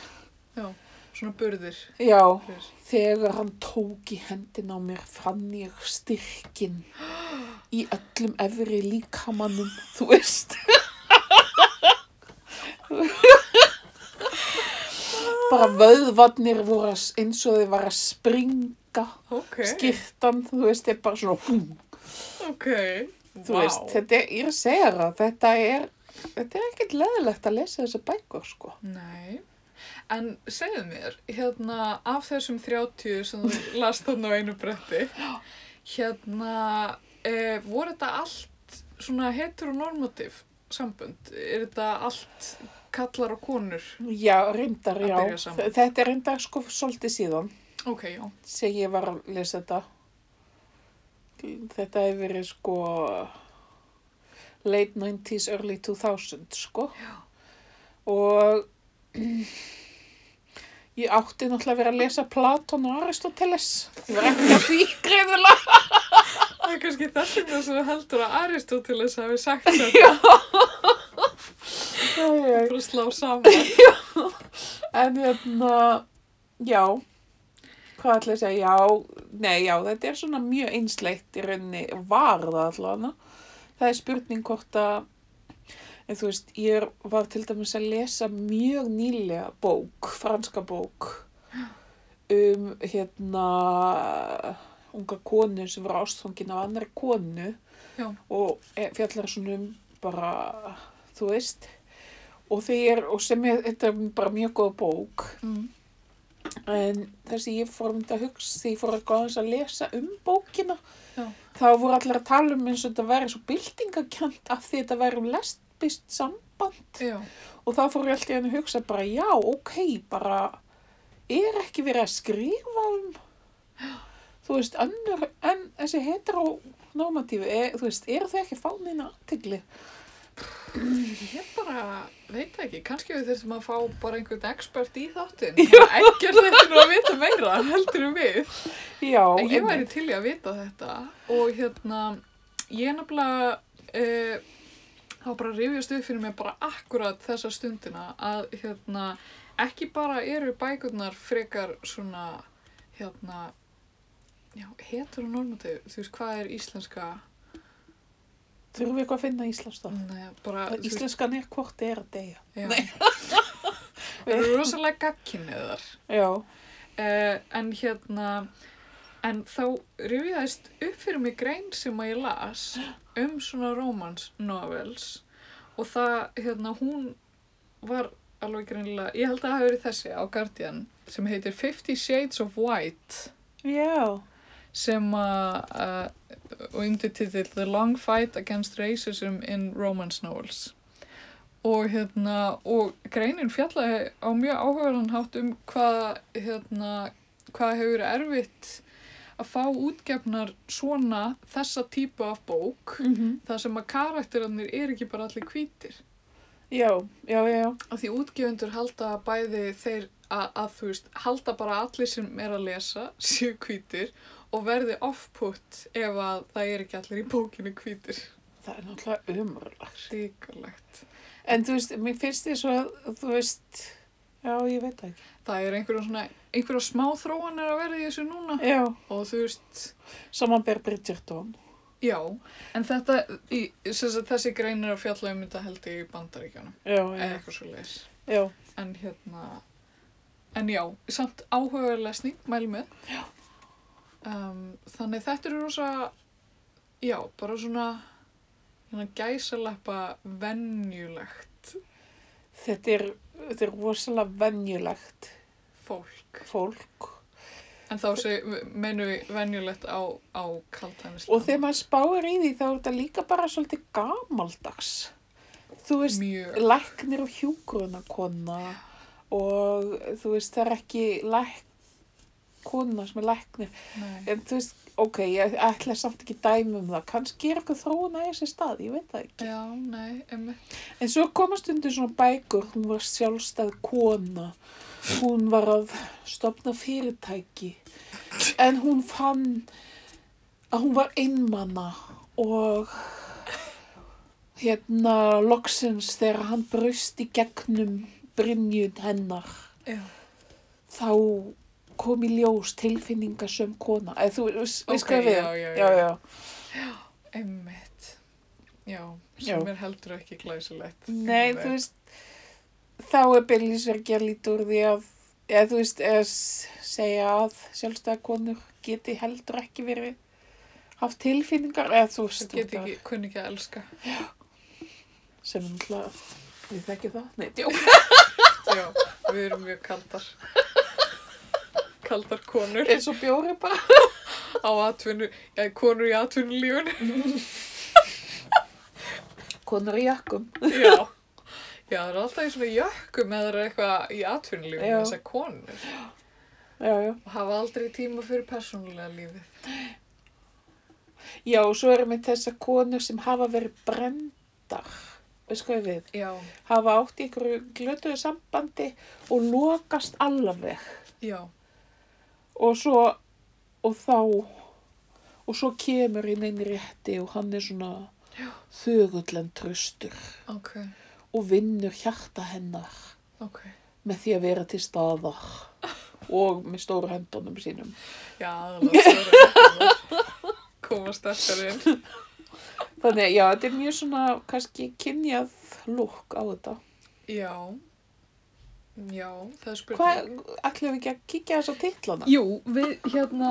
S2: Svona burðir.
S1: já
S2: fyrir-
S1: Þegar hann tók í hendin á mér fann ég styrkin í öllum efri líkamannum, þú veist. Bara vöðvarnir voru að- eins og þeir var að springa,
S2: Ok.
S1: skýrtan, þú veist, þeir bara svona hú,
S2: Ok.
S1: Þú veist, þetta er, ég er að segja það, þetta er, þetta er ekkert leðilegt að lesa þessa bækur, sko.
S2: Nei. En segðu mér, hérna, af þessum 30 sem þú <laughs> last þarna á einu bretti, hérna, e, voru þetta allt svona heteronormativ sambönd? Er þetta allt kallar og konur?
S1: Já, reyndar,
S2: Að
S1: já.
S2: byrja saman.
S1: Þetta er reyndar sko svolítið síðan
S2: Ok, já.
S1: sem ég var að lesa þetta. Þetta hefur verið sko late 90s, early 2000, sko.
S2: Já.
S1: Og ég átti náttúrulega að vera að lesa Platon og Aristoteles. Ég var ekki að því greiðulega.
S2: Það er kannski þess vegna sem þú heldur að Aristóteles hafi sagt þetta
S1: Já. Já, já, já.
S2: fyrir að slá saman.
S1: En hérna, já, hvað ætla ég að segja, já, nei, já, þetta er svona mjög einsleitt í rauninni, var það allavega, það er spurning hvort að, en þú veist, ég er- var til dæmis að lesa mjög nýlega bók, franska bók, um, hérna, unga konu sem var ástfangin af annari konu
S2: Já.
S1: og eh, fjallar svona um bara, þú veist, og þeir, og sem er, þetta er bara mjög góð bók,
S2: Mm.
S1: en þessi ég fór um þetta að hugsa, því ég fór eitthvað aðeins að lesa um bókina,
S2: Já.
S1: þá voru allir að tala um eins og þetta væri svo byltingakjönd af því þetta væri um lesbist samband
S2: Já.
S1: og þá fór ég alltaf að hugsa bara, já, ok, bara er ekki verið að skrifa um, þú veist, önnur, en þessi heteronormatífi, er, þú veist, eru þau ekki að fá neina aðtegli?
S2: Ég bara veit ekki, kannski við þurfum að fá bara einhvern expert í þáttinn. Ekkert þetta er að vita meira, heldur um við.
S1: Já,
S2: En ég væri
S1: einmitt.
S2: til í að vita þetta og hérna, ég er nefnilega, uh, þá bara rifjast upp fyrir mig bara akkurat þessa stundina að hérna, ekki bara eru bækurnar frekar svona, hérna, já, heteronormativ, þú veist, hvað er íslenska,
S1: þurfum við eitthvað að finna Íslands þá?
S2: Nei, bara, þú veist,
S1: Íslenskan er hvort er að deyja.
S2: já, <laughs> við erum rosalega gagkinniðar.
S1: Já,
S2: Uh, en hérna, en þá rifjaðist upp fyrir mig grein sem að ég las um svona romance novels og það, hérna, hún var alveg greinilega, ég held að það hafi verið þessi á Guardian sem heitir Fifty Shades of White
S1: já.
S2: sem að, uh, og undirtitill The Long Fight Against Racism in Romance Novels. Og hérna, og greinin fjallaði á mjög áhugaðan hátt um hvað, hérna, hvað hefur verið erfitt að fá útgefnar svona þessa típu af bók,
S1: Mm -hmm.
S2: þar sem að karakterarnir er ekki bara allir hvítir.
S1: Já, já, já, já.
S2: Af því útgefendur halda að bæði þeir að, að þú veist, halda bara að allir sem er að lesa séu hvítir og verði off-put ef að það er ekki allir í bókinu hvítir.
S1: Það er náttúrulega umröðlagt.
S2: Ríkulegt.
S1: En þú veist, mér finnst því svo að, þú veist, já, ég veit það ekki.
S2: Það er einhverjum svona, einhverjum smá þróan er að verða í þessu núna
S1: Já,
S2: og þú veist,
S1: samanber Bridgerton.
S2: já, en þetta, í, sem sagt, þessi grein er að fjalla um þetta held ég í bandaríkjánum,
S1: Já,
S2: eða
S1: já,
S2: eitthvað svo leis.
S1: já.
S2: En hérna, en já, samt áhugaverð lesning, mælu með. Já. þannig þetta eru rosa, já, bara svona, hérna gæsalappa venjulegt
S1: Þetta er, þetta er rosalega venjulegt
S2: fólk.
S1: fólk.
S2: En þá seg, menu við venjulegt á, á kaltænislega.
S1: Og þegar maður spáir í því þá er þetta líka bara svolítið gamaldags. Þú veist,
S2: Mjög,
S1: læknir og hjúgrunarkona og þú veist, það er ekki læk, kona sem er læknir.
S2: nei,
S1: En þú veist, ok, ég ætla samt ekki dæmi um það. Kannski er eitthvað þróun að þessi stað, ég veit það ekki.
S2: já, nei, emmitt,
S1: En svo komast undir svona bækur, hún var sjálfstæð kona. Hún var að stopna fyrirtæki. En hún fann að hún var einmanna og hérna loksins þegar hann braust í gegnum brynjun hennar
S2: já,
S1: þá kom í ljós tilfinningasöm kona. Eða þú veist
S2: Ok,
S1: hvað við?
S2: já, já, já.
S1: já, já.
S2: emmitt, já,
S1: Já.
S2: sem er heldur ekki glæsilegt.
S1: Nei, þú veist, þá er Billys verið að líta úr því að, eða þú veist, eða s- segja að sjálfstæðakonur geti heldur ekki verið haft tilfinningar eða þú veist
S2: Það get
S1: út af-
S2: ekki, kunni ekki að elska.
S1: sem er náttúrulega ég þekki það, nei, djók
S2: Já, við erum mjög kaldar. Kaldar konur
S1: eins og bjóri bara
S2: á atvinnu, já, konur í atvinnulífun.
S1: <laughs> konur í jakkum
S2: Já. Já, það er alltaf í svona jökkum eða það er eitthvað í atvinnulífun
S1: Já.
S2: þessar konur.
S1: já, já.
S2: Og hafa aldrei tíma fyrir persónulega lífið.
S1: já, og svo erum við þessar konur sem hafa verið brendar veist hvað ég við,
S2: Já.
S1: hafa átt í einhverju glötuðu sambandi og lokast alveg
S2: Já.
S1: og svo og þá og svo kemur inn einn rétti og hann er svona þögullan tröstur
S2: Ok.
S1: og vinnur hjarta hennar
S2: Ok.
S1: með því að vera til staðar og með stóru hendunum sínum
S2: Já,
S1: <laughs>
S2: það er alltaf koma sterkar inn.
S1: þannig að já, þetta er mjög svona kannski kynjað lúk á þetta
S2: Já, já, það er spurning.
S1: hvað, ætlum við ekki að kíkja þess að titlana?
S2: Jú, við hérna,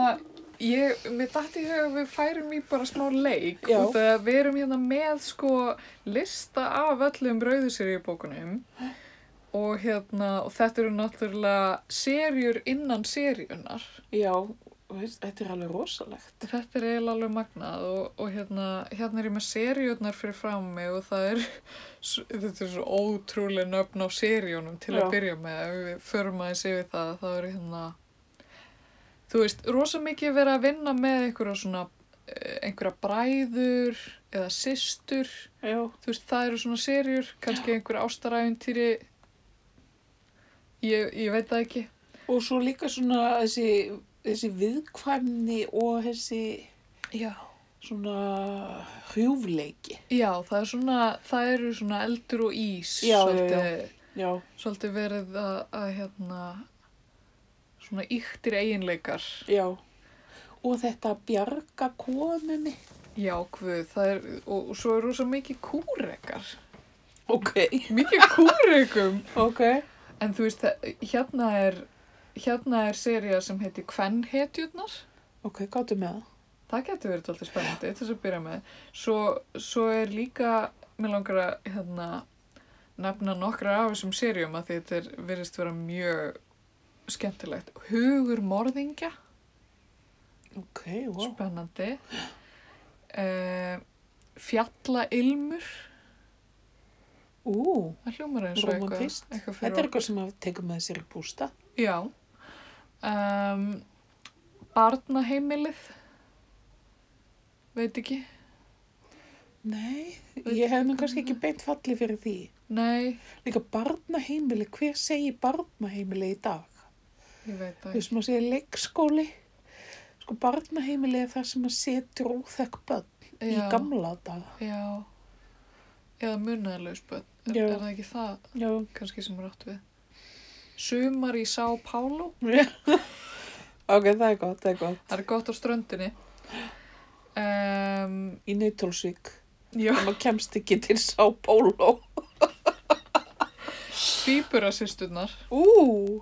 S2: ég, mér dætti í hug að við færum í bara smá leik
S1: Já.
S2: út af að við erum hérna með sko lista af öllum rauðuseríubókunum og hérna, og þetta eru náttúrulega serjur innan serjunar.
S1: já, veist, þetta er alveg rosalegt
S2: Þetta er eiginlega alveg magnað og, og hérna, hérna er ég með serjurnar fyrir fram mig og það er, s- þetta er svo ótrúlega nöfn á serjónum til
S1: Já.
S2: að byrja með. Ef við förum aðeins yfir það, þá er hérna, þú veist, rosa mikið verið að vinna með einhverja svona, eh, einhverja bræður eða systur,
S1: já,
S2: þú veist, það eru svona serjur, kannski einhverja ástaræfintýri, ég, ég veit það ekki.
S1: og svo líka svona þessi, þessi viðkvæmni og þessi
S2: Já.
S1: svona hrjúfleiki
S2: Já, það er svona, það eru svona eldur og ís,
S1: Já, já,
S2: svolítið,
S1: já,
S2: svolítið verið að, að hérna, svona yktir eiginleikar.
S1: já og þetta að bjarga konunni
S2: Já, hvað, það er, og, og svo eru rosa mikið kúrekar,
S1: ok,
S2: mikið kúrekum. <laughs>
S1: ok
S2: En þú veist, það, hérna er, hérna er seria sem heitir Kvennhetjurnar.
S1: ok, gáttu með það
S2: Það getur verið alltaf spennandi til þess að byrja með. Svo, svo er líka, mér langar að hérna, nefna nokkra af þessum serjum að því þetta er, virðist vera mjög skemmtilegt. Hugur morðingja,
S1: ok, wow,
S2: spennandi. Uh, fjalla ilmur,
S1: ú
S2: það hljómar eins og eitthvað.
S1: Rómantískt.
S2: Eitthvað
S1: Þetta er
S2: fyrir okkur.
S1: eitthvað sem að tekur með sér í bústa.
S2: Já. Um, barnaheimilið, veit ekki.
S1: Nei, ég hef nú kannski ekki beint falli fyrir því.
S2: Nei,
S1: Líka barnaheimili, hver segir barnaheimili í dag?
S2: ég veit það
S1: Þú
S2: ekki.
S1: veist maður segir leikskóli. Sko barnaheimili er það sem að setur óþekk börn í
S2: Já.
S1: gamla daga.
S2: Já, eða munnaðlaus börn, er,
S1: Já.
S2: er það ekki það
S1: Já.
S2: kannski sem er átt við? Sumar í Sá Pálo,
S1: ok, það er gott, það er gott.
S2: það er gott á ströndinni. Um,
S1: Í Nautalsvík,
S2: já,
S1: maður kemst ekki til Sá Pólo.
S2: Svíburasýsturnar,
S1: Ú,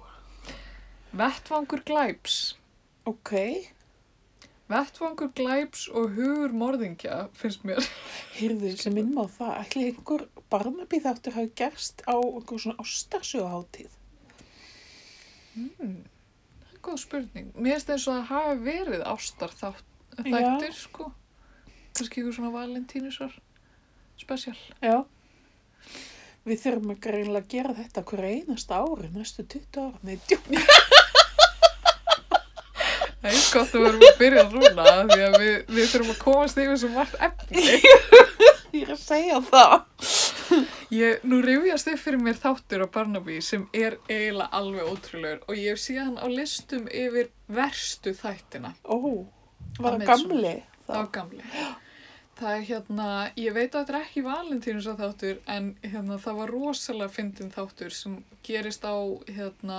S2: Vettvangur Glæps.
S1: ok.
S2: Vettvangur Glæps og Hugur Morðingja finnst mér. <laughs>
S1: Heyrðu, sem minnum á það, ætli einhver barnabí þáttur hafi gerst á einhver svona ástarsjóðaháttíð.
S2: Það er góð spurning. Mér finnst eins og það hafi verið ástar
S1: Já.
S2: þættir, sko. Kannski ykkur svona valentínusar, spesial.
S1: Já. Við þurfum að greinlega að gera þetta hverju einasta ári, næstu 20 ára. Nei, djúk.
S2: Það er gott að við erum að byrja núna því að við, við þurfum að komast yfir svo margt efni.
S1: Ég er að segja það.
S2: <laughs> Ég, nú rifjast upp fyrir mér þáttur á Barnaby sem er eiginlega alveg ótrúlegur og ég hef séð hann á listum yfir verstu þættina
S1: Ó,
S2: Á
S1: var það gamli?
S2: á gamli. Það er hérna, ég veit að þetta er ekki valentínus að þáttur en hérna, það var rosalega fyndin þáttur sem gerist á, hérna,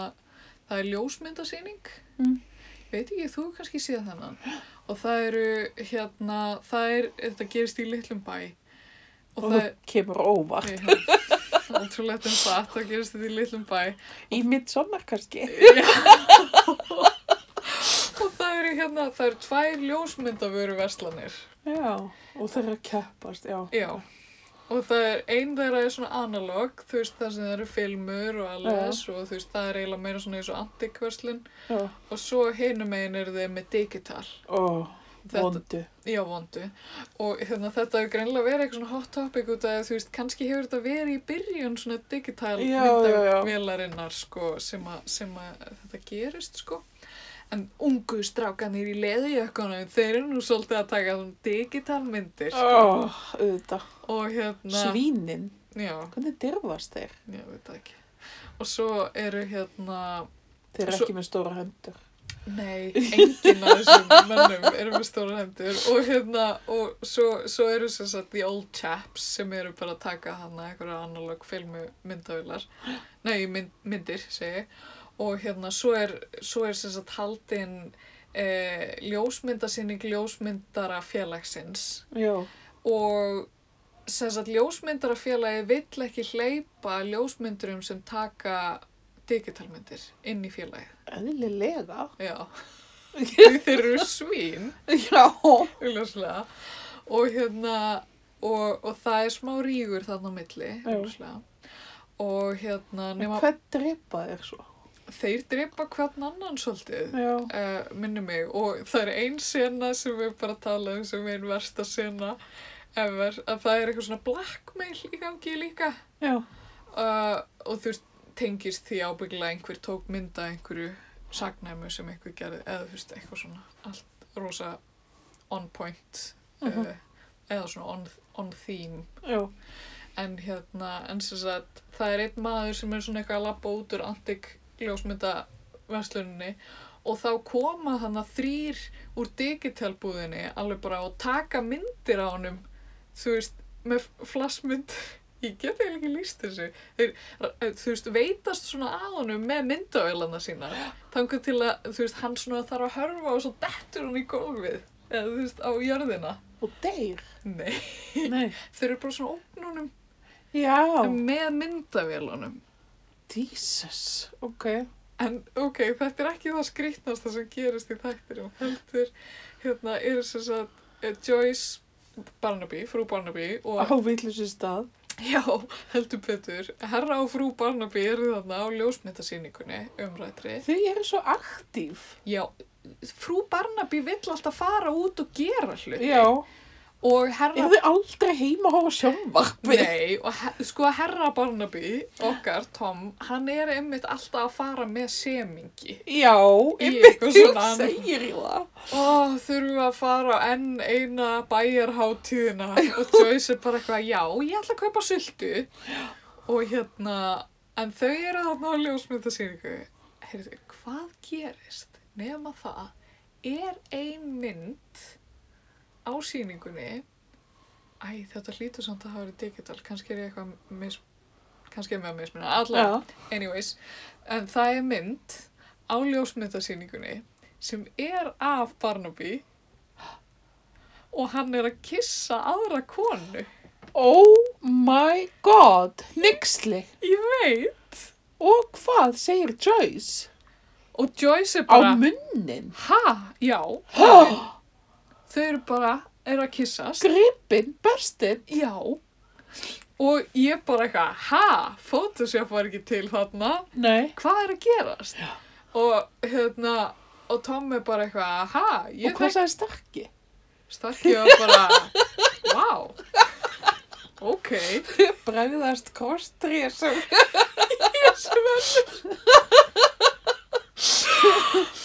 S2: það er ljósmyndasýning.
S1: Mm.
S2: Veit ekki, þú hefur kannski séð þennan. Og það eru, hérna, það er, þetta gerist í litlum bæ. Og
S1: Og
S2: það
S1: það
S2: er,
S1: kemur óvart.
S2: Nei, hérna, það er ótrúlega um það, það gerist þetta í
S1: <laughs>
S2: litlum bæ.
S1: Í mitt sommar kannski.
S2: Og það eru hérna, það eru tvær ljósmyndavöru verslanir.
S1: já, og þeir eru að keppast, já.
S2: Já. Og það er einn þeirra er svona analog, þú veist, það sem það eru filmur og alveg þess og þú veist, það er eiginlega meira svona eins og antikverslun
S1: Já,
S2: og svo hinum einn eru þeir með digital.
S1: ó,
S2: Þetta-
S1: vondu.
S2: Já, vondu. Og hérna, þetta hefur greinlega verið eitthvað svona hot topic út af því að þú veist, kannski hefur þetta verið í byrjun svona digital
S1: Já, já, já.
S2: myndavélarinnar sko, sem, að, sem að þetta gerist sko. En ungu strákanir í leðiökkunum, þeir eru nú svolítið að taka svona digital myndir sko.
S1: Ó, Ah, auðvitað.
S2: og hérna...
S1: Svínin,
S2: Já,
S1: hvernig dyrfast þeir?
S2: ég veit það ekki. Og svo eru hérna...
S1: Þeir eru
S2: Svo-
S1: ekki með stóra hendur.
S2: Nei, enginn af þessum mönnum eru með stóra hendur og hérna, og svo, svo eru sem sagt the old chaps sem eru bara að taka hana einhverja analog filmu myndavilar, nei mynd, myndir segi, ég. og hérna svo er, svo er sem sagt haldin eh, ljósmyndasýning ljósmyndara félagsins
S1: Já,
S2: og sem sagt ljósmyndarafélagi vill ekki hleypa ljósmyndurum sem taka digitalmyndir inn í félagið.
S1: eðlilega.
S2: <laughs> Já, Því þeir eru svín,
S1: Já.
S2: augljóslega, og hérna, og, og það er smá rígur þarna á milli,
S1: Já.
S2: augljóslega, og hérna, nema
S1: Hvað drepa þeir svo?
S2: þeir drepa hvern annan svolítið,
S1: Já.
S2: uh, minni mig, og það er ein sena sem við bara tala um sem ein versta sena, ever, að það er eitthvað svona blackmail í gangi líka,
S1: Já.
S2: uh, og þú veist, tengist því ábyggilega einhver tók mynda einhverju sagnæmu sem einhver gerði eða þú veist, eitthvað svona allt rosa on point uh
S1: Mhm.
S2: eða svona on, on theme
S1: Já.
S2: en hérna, en sem sagt það er einn maður sem er svona eitthvað að labba út úr antik ljósmynda versluninni og þá koma þannig að þrýr úr digitalbúðinni alveg bara og taka myndir á honum þú veist, með flassmynd <laughs> ég get eiginlega ekki líst þessu Þeir, eh, þú veist, veitast svona að honum með myndavélana sína þangar til að, þú veist, hann svona þarf að hörfa og svo dettur hann í gólfið eða þú veist, á jörðina
S1: Og deyr.
S2: nei,
S1: Nei.
S2: þeir eru bara svona ógnunum
S1: Já.
S2: með myndavélunum
S1: Jesus. Ok.
S2: En ok, þetta er ekki það skrýtnasta sem gerist í þættinum heldur, hérna er þess að eh, Joyce Barnaby, frú Barnaby og
S1: Á villusi stað.
S2: já, heldur betur, herra og frú Barnaby eru þarna á ljósmyndasýningunni umrættri.
S1: Þau eru svo aktív.
S2: Já, frú Barnaby vill alltaf fara út og gera hluti
S1: Já.
S2: og herra
S1: Eru þau aldrei heima að horfa á sjónvarpið?
S2: Nei, og he- sko herra Barnaby, okkar, Tom, hann er einmitt alltaf að fara með semingi
S1: Já,
S2: Í
S1: einmitt
S2: eitthvað
S1: þú
S2: svona-
S1: segir í það.
S2: Ó, þurfum við að fara á enn eina bæjarháttíðina og Joyce er bara eitthvað, já, ég ætla að kaupa sultu og hérna, en þau eru þarna á ljósmyndasýningu. Heyrðu, hvað gerist nema það er ein mynd á sýningunni, æ, þetta hlýtur samt að hafa verið digital, kannski er ég eitthvað mis, kannski er með að mismuna, allavega.
S1: Já.
S2: Anyways, en það er mynd á ljósmyndasýningunni sem er af Barnaby og hann er að kissa aðra konu.
S1: Oh my god. Nixli.
S2: Ég veit.
S1: Og hvað segir Joyce?
S2: Og Joyce er
S1: Á
S2: bara,
S1: munnin.
S2: ha, já,
S1: Hæ?
S2: þau eru bara, eru að kissast.
S1: Gripin, berstin.
S2: Já. Og ég bara eitthvað, ha, Photoshop var ekki til þarna.
S1: Nei.
S2: Hvað er að gerast?
S1: Já.
S2: Og hérna, og Tom er bara eitthvað, ha, ég
S1: Og hvað sagði stakki?
S2: Starki var bara, wow, ok,
S1: Bregðast kostri sem...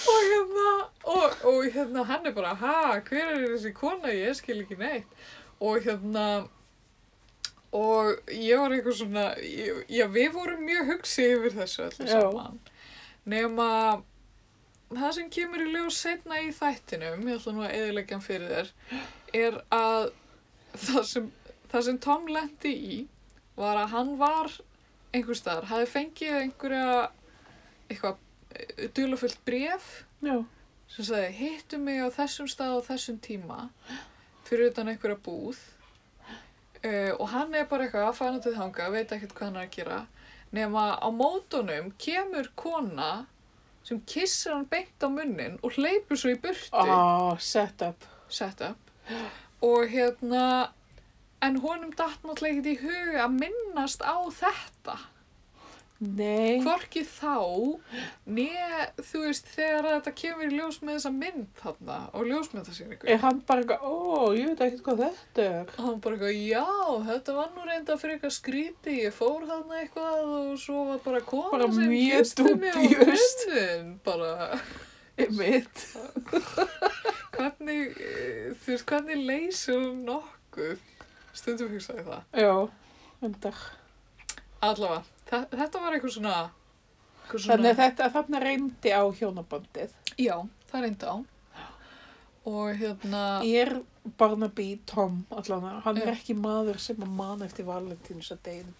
S2: og hérna, og, og hérna hann er bara, ha, hver er þessi kona, ég skil ekki neitt, og hérna, og ég var eitthvað svona, ég- já, við vorum mjög hugsið yfir þessu allir
S1: Já.
S2: saman, nema það sem kemur í ljós setna í þættinum, ég ætla nú að eðilegja hann fyrir þér, er að það sem, það sem Tom lendi í var að hann var einhvers staðar, hafði fengið einhverja eitthvað dulafullt bref
S1: Já.
S2: sem sagði hittu mig á þessum stað á þessum tíma fyrir utan einhverja búð uh, og hann er bara eitthvað að fara til þanga, veit ekkert hvað hann er að gera nema á mótunum kemur kona sem kissir hann beint á munnin og hleypur svo í burtu
S1: Ó, set up.
S2: set up og hérna en honum datt náttúrulega ekkert í huga að minnast á þetta
S1: Nei.
S2: hvorki þá né þú veist þegar þetta kemur í ljós með þessa mynd þarna og ljósmyndasýningu
S1: Er hann bara eitthvað, ó, ég veit ekkert hvað þetta er.
S2: og hann bara eitthvað, já, þetta var nú reynda fyrir eitthvað skríti, ég fór þarna eitthvað og svo var bara kona
S1: Bara
S2: sem
S1: mjög
S2: kyssti mig á
S1: dúbíust.
S2: munnin bara
S1: Ég mitt.
S2: hvernig, eh, þú veist, hvernig leysum nokkuð stundum hugsaði ég það
S1: Já, undar.
S2: Allavega, þa- þetta var eitthvað svona... Eitthvað svona
S1: Þannig að þetta, þarna reyndi á hjónabandið.
S2: Já, það reyndi á. Og hérna...
S1: Ég er Barnaby Tom allan að hann er
S2: Já.
S1: ekki maður sem að man eftir Valentínus að deyin.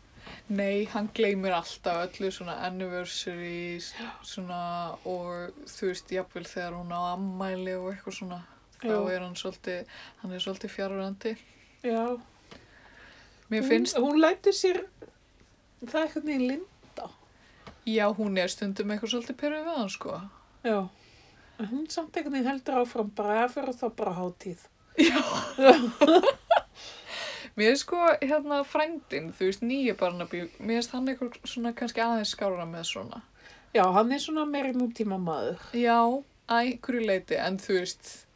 S2: Nei, hann gleymir alltaf öllu svona anniversaries svona og þú veist, jafnvel þegar hún á ammæli og eitthvað svona þá
S1: Já.
S2: er hann svolítið, hann er svolítið fjárurandi.
S1: Já, Mm.
S2: Mér finnst,
S1: hún, hún lætur sér, það er eitthvað neginn lind.
S2: já, hún er stundum eitthvað svolítið pyrrið við hann, sko.
S1: Já, En hún samt eitthvað neginn heldur áfram bara að fyrir þá bara á hátíð.
S2: Mér er sko, hérna, frændin, þú veist, nýja barnabí, mér finnst hann eitthvað svona kannski aðeins skára með svona.
S1: Já, hann er svona meiri nútíma maður.
S2: Já, að einhverju leiti, en þú veist,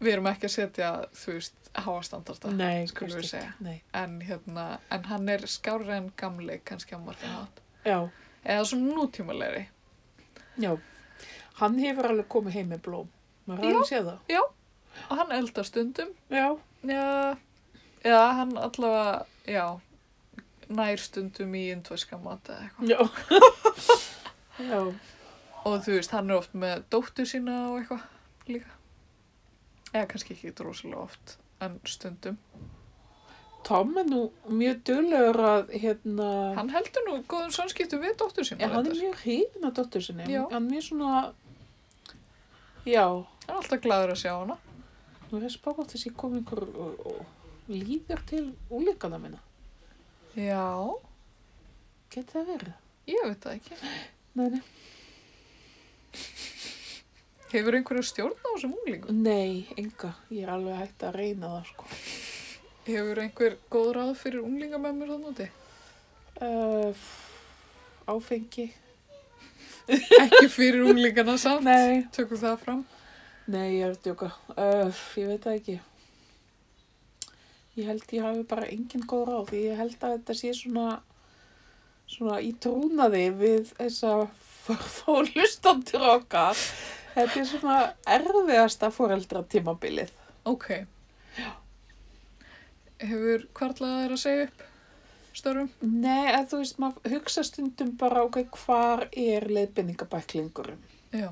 S2: við erum ekki að setja, þú veist, háastandarta,
S1: Nei,
S2: skulum
S1: kannski
S2: við
S1: ekki.
S2: segja.
S1: Nei,
S2: En, hérna, en hann er skárri en gamli, kannski á margir hát.
S1: já,
S2: Eða svona nútímalegri.
S1: já. Hann hefur alveg komið heim með blóm. Maður hann séð það.
S2: Og hann eldar stundum,
S1: Já,
S2: já, eða hann allavega, já, nær stundum í indvæska mat eða eitthvað.
S1: já. <laughs> já,
S2: Og þú veist, hann er oft með dóttur sína og eitthvað líka. Eða kannski ekki drosalega oft, en stundum.
S1: Tom er nú mjög dölur að, hérna,
S2: Hann heldur nú góðum samskiptum við dóttur sína.
S1: Já, hann er
S2: reyndar.
S1: mjög hrifin af dóttur sinni.
S2: Já.
S1: Hann er mjög svona, já,
S2: Hann er alltaf gladur að sjá hana.
S1: nú er ég spáð að þessi kom einhver og, og líður til úlíkana minna.
S2: Já,
S1: Geti það verið?
S2: ég veit það ekki.
S1: Nei, nei.
S2: Hefur einhverju stjórn á þessum úlingum?
S1: Nei, enga. Ég er alveg hægt að reyna það, sko.
S2: Hefur einhver góð ráð fyrir úlingamömmur þannig úti? <laughs>
S1: Uh, áfengi.
S2: Ekki fyrir úlingana samt.
S1: Nei.
S2: Tökum það fram.
S1: Nei, ég er að djóka. Uh, ég veit það ekki. Ég held ég hafi bara engin góð ráð. Ég held að þetta sé svona, svona í trúnaði við þessa <laughs> fórfólustandur okkar. Þetta er svona erfiðasta fóreldra tímabilið.
S2: Ok. Hefur hvarlaða þær að segja upp störfum?
S1: Nei, að þú veist, maður hugsa stundum bara ok, hvar er leiðbendingabæklingurinn
S2: Já.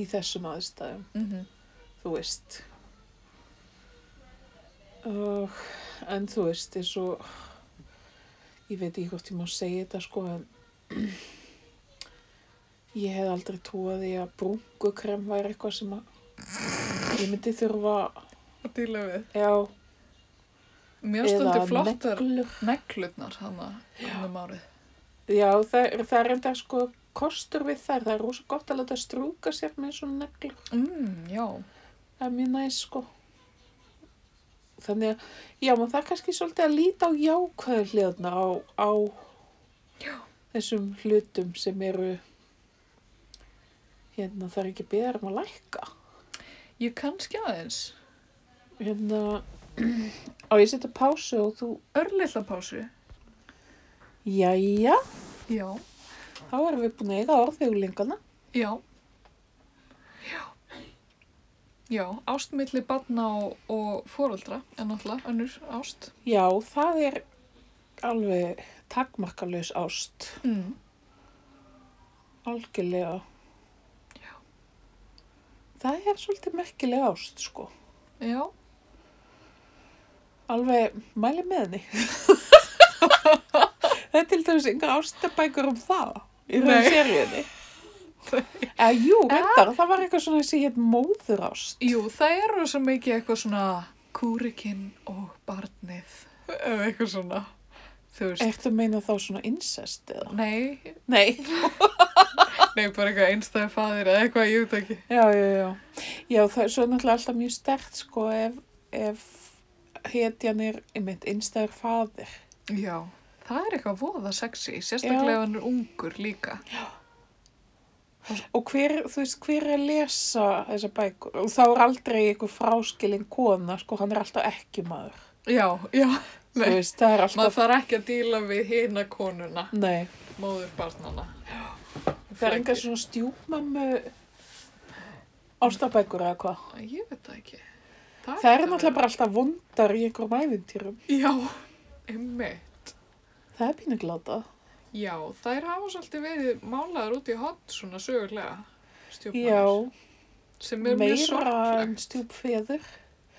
S1: í þessum aðstæðum,
S2: Mm
S1: þú veist. Uh, en þú veist, eins og, ég veit ekki hvort ég má segja þetta sko, en ég hef aldrei trúið því að brúnkukrem væri eitthvað sem að ég myndi þurfa,
S2: Að díla við.
S1: já,
S2: Mér stóndi flottar
S1: neglur.
S2: neglutnar hana um árið.
S1: Já, það, er- það er enda sko kostur við þær, það er rosa gott að láta strúka sér með svona neglur.
S2: Mm, já.
S1: Það er mjög næst sko. Þannig að, já, maður þarf kannski svolítið að líta á jákvæðu hliðarna á, á þessum hlutum sem eru, hérna, það er ekki beðar um að lækka.
S2: Ég kannski aðeins.
S1: Hérna, <clears throat> á ég setja pásu og þú,
S2: Örlilla pásu.
S1: jæja,
S2: Já.
S1: þá erum við búin að eiga orðveglingana.
S2: Já. Já. Já, ást milli barna og, og fóröldra er náttúrulega önnur ást.
S1: Já, það er alveg takmarkalaus ást,
S2: Mm.
S1: algjörlega. Já. Það er svolítið merkileg ást, sko.
S2: Já,
S1: Alveg mæli með henni. <laughs> það er til dæmis yngra ástabækur um það. Í
S2: Nei.
S1: raun seriðinni. Eða jú, reyndar, það var eitthvað svona sem hétt móður ást.
S2: jú, það er rosa mikið eitthvað svona kúrikinn og barnið. Eða eitthvað svona, þú veist.
S1: Ertu að meina þá svona incest eða?
S2: Nei,
S1: Nei.
S2: Nei, bara eitthvað einstæði faðir eða eitthvað, ég veit ekki.
S1: Já, já, já. Já, það er svo náttúrulega alltaf mjög stert sko ef, ef hetjan er einmitt einstæður faðir.
S2: Já, það er eitthvað voða sexy, sérstaklega
S1: Já.
S2: ef hann er ungur líka.
S1: Og hver, þú veist, hver er að lesa þessa bækur? Og þá er aldrei einhver fráskilin kona, sko, hann er alltaf ekki maður.
S2: Já, já,
S1: Þú
S2: nei.
S1: veist, sko. það er
S2: Maður
S1: alltaf...
S2: þarf ekki að díla við hina konuna,
S1: Nei,
S2: móður barnana.
S1: það er enga svona stjúpmömmu ástabækur eða hvað.
S2: Ég veit það ekki.
S1: Það er náttúrulega bara alltaf vondar í einhverjum æfintýrum.
S2: Já, einmitt.
S1: Það er pínuglata.
S2: Já, þær hafa svolítið verið málaðar út í hot svona sögulega
S1: Já,
S2: stjórnmæður sem er mjög
S1: meira en
S2: sorglegt.
S1: stjúpfeður.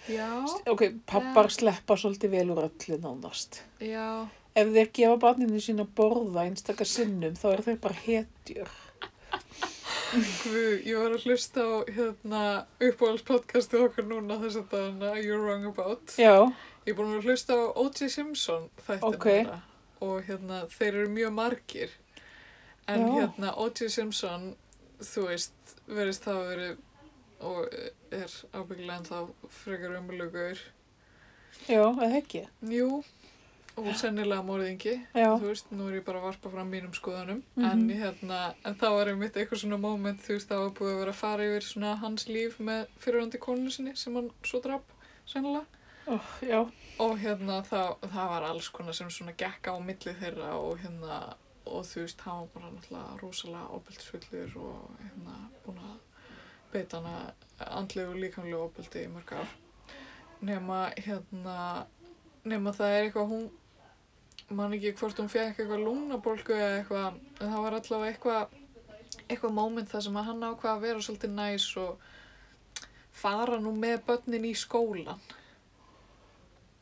S2: Já,
S1: Ok, pappar sleppa svolítið vel úr öllu nánast.
S2: já,
S1: Ef þeir gefa barninu sína að borða einstakar sinnum, þá eru þeir bara hetjur.
S2: Guð, ég var að hlusta á hérna uppáhaldspodcastu okkar núna þess að dana You're Wrong About.
S1: Já,
S2: Ég er búin að hlusta á O.J. Simpson þættina
S1: Ok.
S2: og hérna þeir eru mjög margir. En
S1: Já.
S2: hérna O.J. Simpson, þú veist, verðist það að verið og er ábyggilega en þá frekar umlugur.
S1: já, eða ekki.
S2: Jú, og sennilega morðingi.
S1: Já,
S2: þú veist, nú er ég bara að varpa fram mínum skoðunum
S1: Mhm.
S2: en, hérna, en það var einmitt eitthvað svona moment þú veist, það var búið að vera að fara yfir svona hans líf með fyrirhandi konu sinni sem hann svo drap, sennilega
S1: ó, já,
S2: og hérna, það, það var alls konar sem svona gekk á milli þeirra og hérna, og þú veist, hann var bara náttúrulega rosalega opeltisfullur og hérna, búin að beita hana andlegu og líkamlegu opeldi í mörg ár nema, hérna nema það er eitthvað hún man ekki hvort hún fekk eitthvað lungnabolgu eða eitthvað, en það var allavega eitthvað eitthvað moment þar sem að hann ákvað að vera svolítið næs og fara nú með börnin í skólan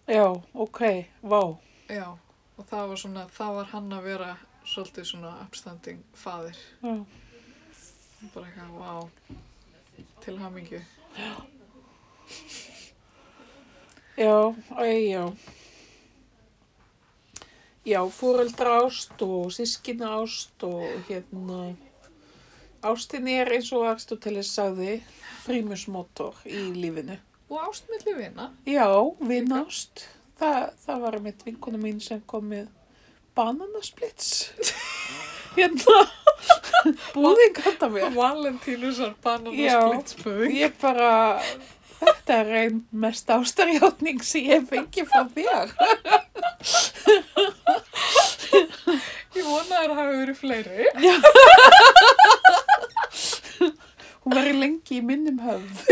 S1: já, ok, vá.
S2: já, og það var svona það var hann að vera svolítið svona upstanding faðir
S1: Já,
S2: bara eitthvað, vá til hamingju
S1: já, ei, já. Já, fóreldra ást og sískina ást og hérna... Ástin er eins og Aristoteles sagði prímusmotor í lífinu.
S2: og ástmilli vina
S1: Já, vinást. Þa, það var mitt vinkona mín sem kom með bananasplits. <laughs> hérna, búðing handa mér.
S2: Valentínusar
S1: Já.
S2: bananasplitspuðing
S1: Ég bara, þetta er einn mest ástarjátning sem ég fengi frá þér.
S2: ég vona að það hafi verið fleiri
S1: Hún var í lengi í minnum <laughs> höfð.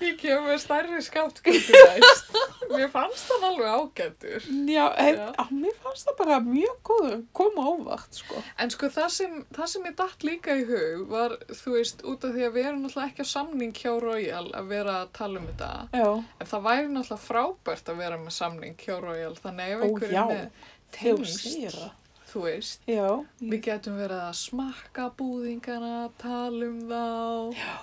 S2: Ég kem með stærri skáttgöngu næst. Mér fannst hann alveg ágættur.
S1: Já, hef,
S2: Já.
S1: á, mér fannst það bara mjög góður, kom ávart, sko.
S2: En sko það sem, það sem ég datt líka í hug var, þú veist, út af því að við erum náttúrulega ekki á samning hjá Royal að vera að tala um þetta.
S1: Já,
S2: En það væri náttúrulega frábært að vera með samning hjá Royal. Þannig ef
S1: Ó,
S2: einhverjum
S1: já.
S2: er með
S1: þegar þú
S2: tengsl,
S1: segir það.
S2: þú veist,
S1: Já,
S2: við getum verið að smakka búðingana, tala um þá, já.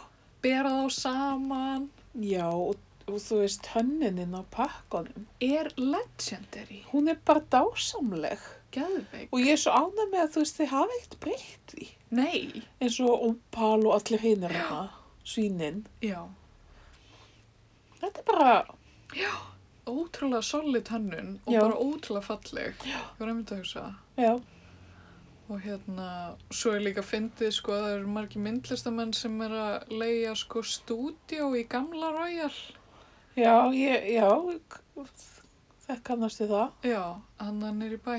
S2: bera þá saman.
S1: já og, og þú veist hönnininn á pakkanum,
S2: Er legendary,
S1: hún er bara dásamleg.
S2: geðveik?
S1: Og ég er svo ánæg með að þú veist, þið hafa eitt breytt því.
S2: Nei.
S1: Eins og Ompal og allir hinnir hana, svínin.
S2: Já.
S1: Þetta er bara,
S2: ótrúlega solid hönnun og
S1: Já.
S2: bara ótrúlega falleg ég var einmitt að hugsa
S1: já,
S2: og hérna, svo er líka fyndið sko að það eru margir myndlistamenn sem er að leigja sko stúdíó í gamla Royal
S1: já, ég, já, k- það kannast þið það,
S2: já, hann er nýri bæ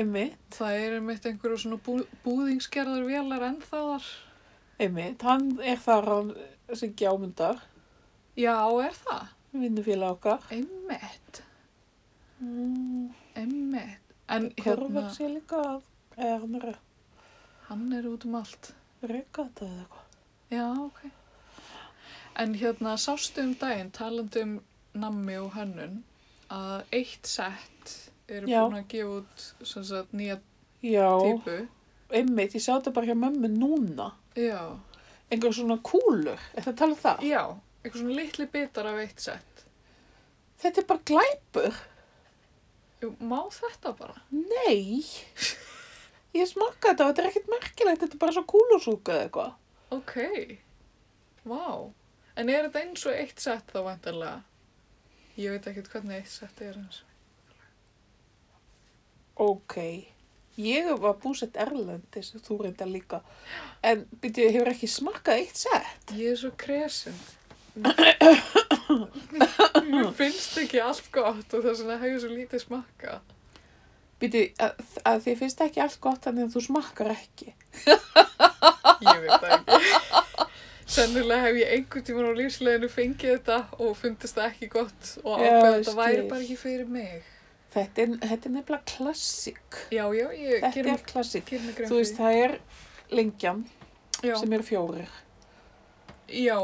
S1: einmitt,
S2: það er einmitt einhverju svona bú, búðingsgerðar vélar ennþá þar
S1: einmitt, hann er þar hann sem gjámyndar,
S2: já, er það?
S1: vinnufélag okkar.
S2: einmitt,
S1: Mm,
S2: einmitt en
S1: Korvar
S2: hérna,
S1: sé líka að, eða hann er að
S2: hann er út um allt
S1: reyka þetta eða eitthvað.
S2: já, ok en hérna, sástu um daginn talandi um nammi og hönnun að eitt sett eru
S1: Já.
S2: búin að gefa út sem sagt, nýja
S1: Já,
S2: típu
S1: einmitt, ég sá þetta bara hjá mömmu núna.
S2: já.
S1: Einhver svona kúlur, er þetta að tala um það?
S2: já, eitthvað svona litli bitar af eitt sett
S1: Þetta er bara glæpur.
S2: Jú, má þetta bara?
S1: Nei, ég smakka þetta og þetta er ekkert merkilegt, þetta er bara svo kúlusúka eða eitthvað.
S2: Ok. Vá. En er þetta eins og eitt sett þá vantarlega? Ég veit ekkert hvernig eitt sett er eins.
S1: Ok, ég var búsett erlendis, þú reynda líka, en byrju, hefur ekki smakkað eitt sett?
S2: Ég er svo kresin. Mér finnst ekki allt gott og þess vegna hef ég svo lítið smakka.
S1: Byrju, að, að því finnst ekki allt gott þannig að þú smakkar ekki.
S2: Ég veit það ekki. Sennilega hef ég einhvern tímann á lífsleginu fengið þetta og fundist það ekki gott og
S1: Já,
S2: ákveð að
S1: ég
S2: þetta væri
S1: skil.
S2: bara ekki fyrir mig.
S1: Þetta er, þetta er nefnilega klassik.
S2: Já, já, ég
S1: Þetta
S2: gerum
S1: er klassik.
S2: Gerum
S1: Þú veist, það er lengjan
S2: já,
S1: sem eru fjórir.
S2: já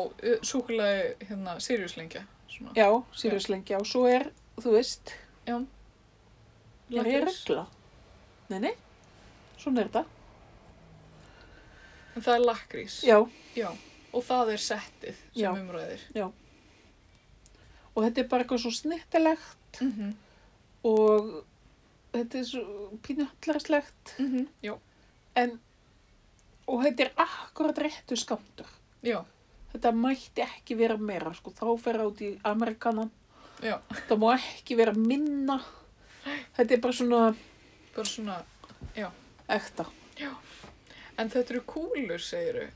S2: súkulega hérna, sirjuslengja. Svona.
S1: Já, Sirius lengja og svo er, þú veist, er ég
S2: Lakrís.
S1: regla. Nei, nei, svona er þetta.
S2: En það er lakrís.
S1: Já,
S2: Já. Og það er settið
S1: Já.
S2: sem umræðir.
S1: og þetta er bara eitthvað svo snittilegt
S2: Mm -hmm.
S1: og þetta er svo pínuhallarstlegt.
S2: Mm -hmm. Já.
S1: En, og þetta er akkurat réttu skamtur.
S2: Já.
S1: Þetta mætti ekki vera meira, sko. Þá fer át í Amerikanan.
S2: Já.
S1: Það má ekki vera minna. Þetta er bara svona
S2: Bara svona,
S1: ekta.
S2: en þetta eru kúlur, segiru.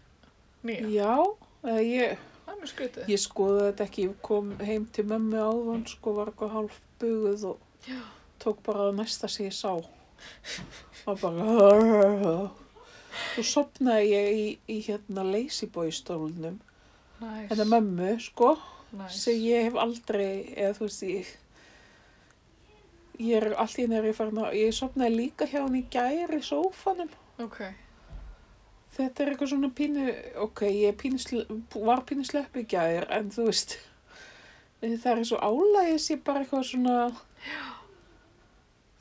S2: Nýja.
S1: Já, eh, ég,
S2: Það er mjög skrítið.
S1: ég skoði þetta ekki. Ég kom heim til mömmu áðan, sko, var eitthvað hálf buguð og
S2: Já.
S1: tók bara að næsta sem ég sá. Og bara... Svo sopnaði ég í, í hérna leysibói stólnum.
S2: Næs.
S1: Þetta er mömmu, sko.
S2: Næs.
S1: sem ég hef aldrei, eða þú veist, ég, ég er allt í næri farin að, ég sopnaði líka hjá hann í gær í sófanum.
S2: Ok.
S1: Þetta er eitthvað svona pínu, ok, ég er pínu, sl- var pínu slepp í gær, en þú veist, það er svo álægis, ég bara eitthvað svona,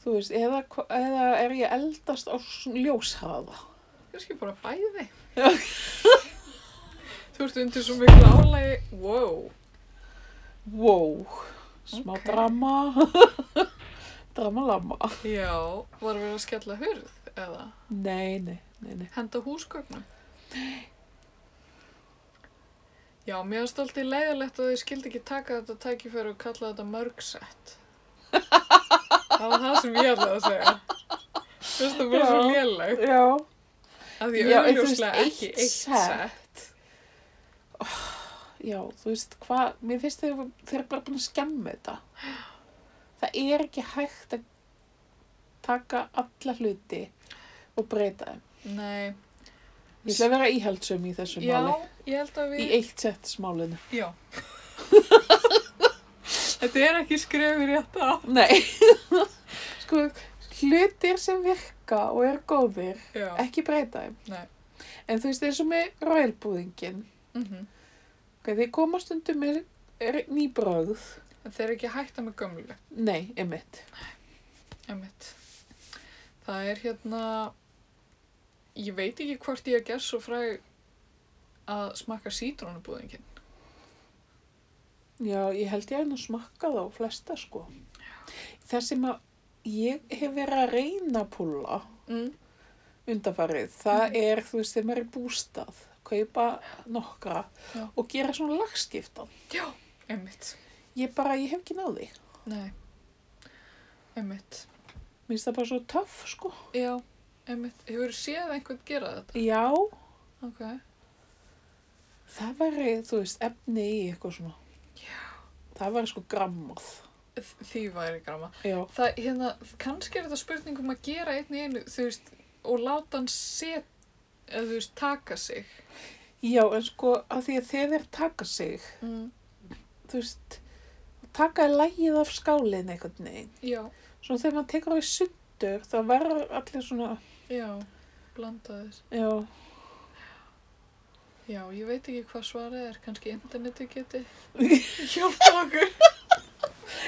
S1: þú veist, eða, hva- eða er ég eldast á svona ljóshaða.
S2: Kanski bara bæði. Þú ert undir svo miklu álægi. Wow.
S1: Wow, smá
S2: Ok.
S1: drama, <laughs> dramalama.
S2: Já. Var að vera að skella hurð eða
S1: Nei, nei, nei, nei.
S2: henda húsgögnum? Já, mér finnst alltaf leiðilegt að þau skildi ekki taka þetta tækifæri og kalla þetta mörgsett. það var það sem ég ætlaði að segja. Mér finnst það bara svo
S1: Já.
S2: lélægt.
S1: Já.
S2: Af því
S1: Já, en þú
S2: auðvitað
S1: veist,
S2: ekki
S1: eitt
S2: eitt
S1: sett.
S2: sett.
S1: Já, þú veist hvað, mér finnst þeir, þeir eru bara búin að skemmu þetta. Það er ekki hægt að taka alla hluti og breyta þeim.
S2: Nei.
S1: Ég ætla að vera íhaldsum í þessu
S2: Já,
S1: máli.
S2: ég held að við...
S1: Í eitt sett smálinu.
S2: <laughs> Já. þetta er ekki skrefið rétt á.
S1: Nei. sko, hlutir sem virka og eru góðir,
S2: Já.
S1: ekki breyta þeim.
S2: Nei.
S1: En þú veist eins og með rælbúðingin,
S2: Mm
S1: okay, þeir koma stundum með er- ný bröð.
S2: En þeir eru ekki að hætta með gömlu.
S1: Nei, einmitt.
S2: Einmitt. Það er hérna, ég veit ekki hvort ég er gerð svo fræg að smakka sítrónubúðingin.
S1: Já, ég held ég að nú smakka þá flesta sko. Það sem að ég hef verið að reyna að púla
S2: Mm.
S1: undanfarið, það
S2: Mhm.
S1: er, þú veist, þegar maður er í bústað, kaupa nokkra
S2: Já.
S1: og gera svona lagskiptan.
S2: Já, einmitt.
S1: Ég bara, ég hef ekki náði.
S2: Nei, einmitt.
S1: Mér finnst það bara svo töff, sko.
S2: Já, einmitt. Hefur séð einhvern gera þetta?
S1: Já,
S2: Ok.
S1: það væri, þú veist, efni í eitthvað svona.
S2: Já. Það
S1: Það væri sko grammað.
S2: því væri grama.
S1: Já,
S2: Það, hérna, kannski er þetta spurning um að gera einn í einu, þú veist, og láta hann set, eða þú veist, taka sig.
S1: Já en sko, að því að þegar þeir taka sig,
S2: Mm.
S1: þú veist, taka lægið af skálinn einhvern veginn.
S2: Já,
S1: Svo þegar maður tekur á í sundur þá verður allir svona,
S2: já, blanda þess.
S1: já, <laughs>
S2: Já, ég veit ekki hvað svarið er, kannski interneti <laughs> geti hjálpa okkur.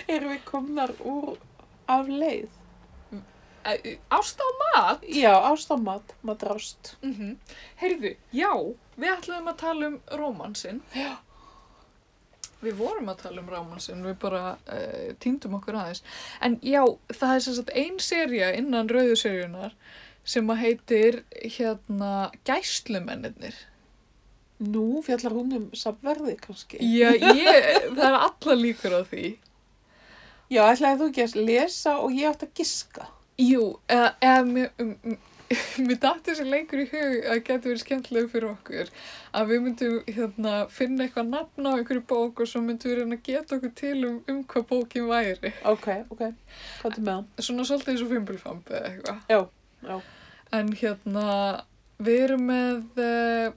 S1: erum við komnar úr af leið.
S2: Æ, Ást á mat?
S1: Já, ástamat, maður drást.
S2: Mm Heyrðu, já, við ætlaðum að tala um rómansinn. Já. Við vorum að tala um rómansinn, við bara eh, uh, týndum okkur aðeins. En já, það er sem sagt ein serja innan rauðu serjunar sem að heitir hérna gæslumennir.
S1: Nú fjallar hún um samverði kannski.
S2: Já, ég, það er alla líkur á því.
S1: Já, ætlaði þú ekki að lesa og ég átt að giska.
S2: Jú, eða, eða mér, m- m- <laughs> mér dætti þessi leikur í hug að geti verið skemmtilega fyrir okkur að við myndum hérna, finna eitthvað nafn á einhverju bók og svo myndum við reyna að geta okkur til um, um hvað bókin væri.
S1: Ok, ok, hvað er með hann?
S2: Svona svolítið eins og fimbulfambi eða eitthvað.
S1: Já, já.
S2: En hérna, við erum með uh,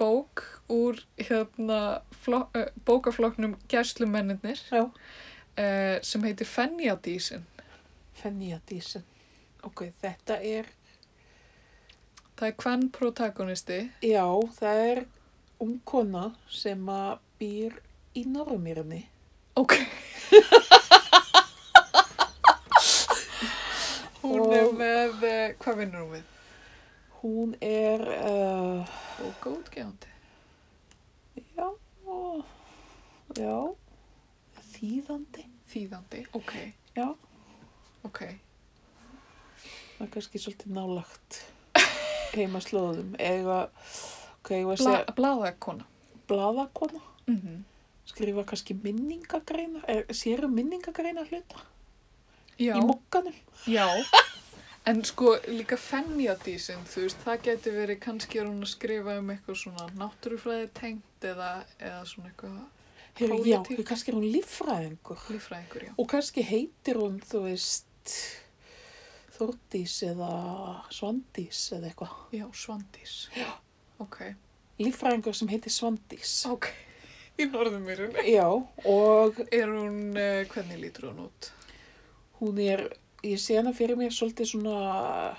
S2: bók úr hérna, flok, uh, bókafloknum Gæslumenninir
S1: Já.
S2: uh, sem heitir Fenjadísin.
S1: Fenja Dísin. Ok, þetta er,
S2: Það er hvern protagonisti.
S1: já, það er ung kona sem að býr í Norðumýrni.
S2: Ok. Hún er
S1: Og-
S2: með, eh, hvað vinnur hún við?
S1: Hún er, uh,
S2: Bókaútgefandi.
S1: já, ó, já, þýðandi.
S2: Þýðandi. Ok,
S1: Já,
S2: ok.
S1: það er kannski svolítið nálagt heima slóðum. Eða, ok, ég var að
S2: Bla,
S1: segja,
S2: blaðakona.
S1: bladakona,
S2: Mm
S1: skrifa kannski minningagreinar, er, séru minningagreinar hluta
S2: Já,
S1: í mokkanum.
S2: já. En sko líka fennjadísin, þú veist, það getur verið kannski er hún að skrifa um eitthvað svona náttúrufræði tengt eða, eða svona eitthvað
S1: Heru, já,
S2: Pólitík.
S1: heyrðu, kannski er hún líffræðingur.
S2: lífræðingur, já.
S1: Og kannski heitir hún, þú veist, Þórdís eða Svandís eða eitthvað.
S2: Já, svandís. Já. Ok,
S1: Líffræðingur sem heitir Svandís.
S2: ok. Í norðum mýrunni.
S1: Já, og
S2: Er hún, eh, hvernig lítur hún út?
S1: hún er, ég sé hana fyrir mér svolítið svona,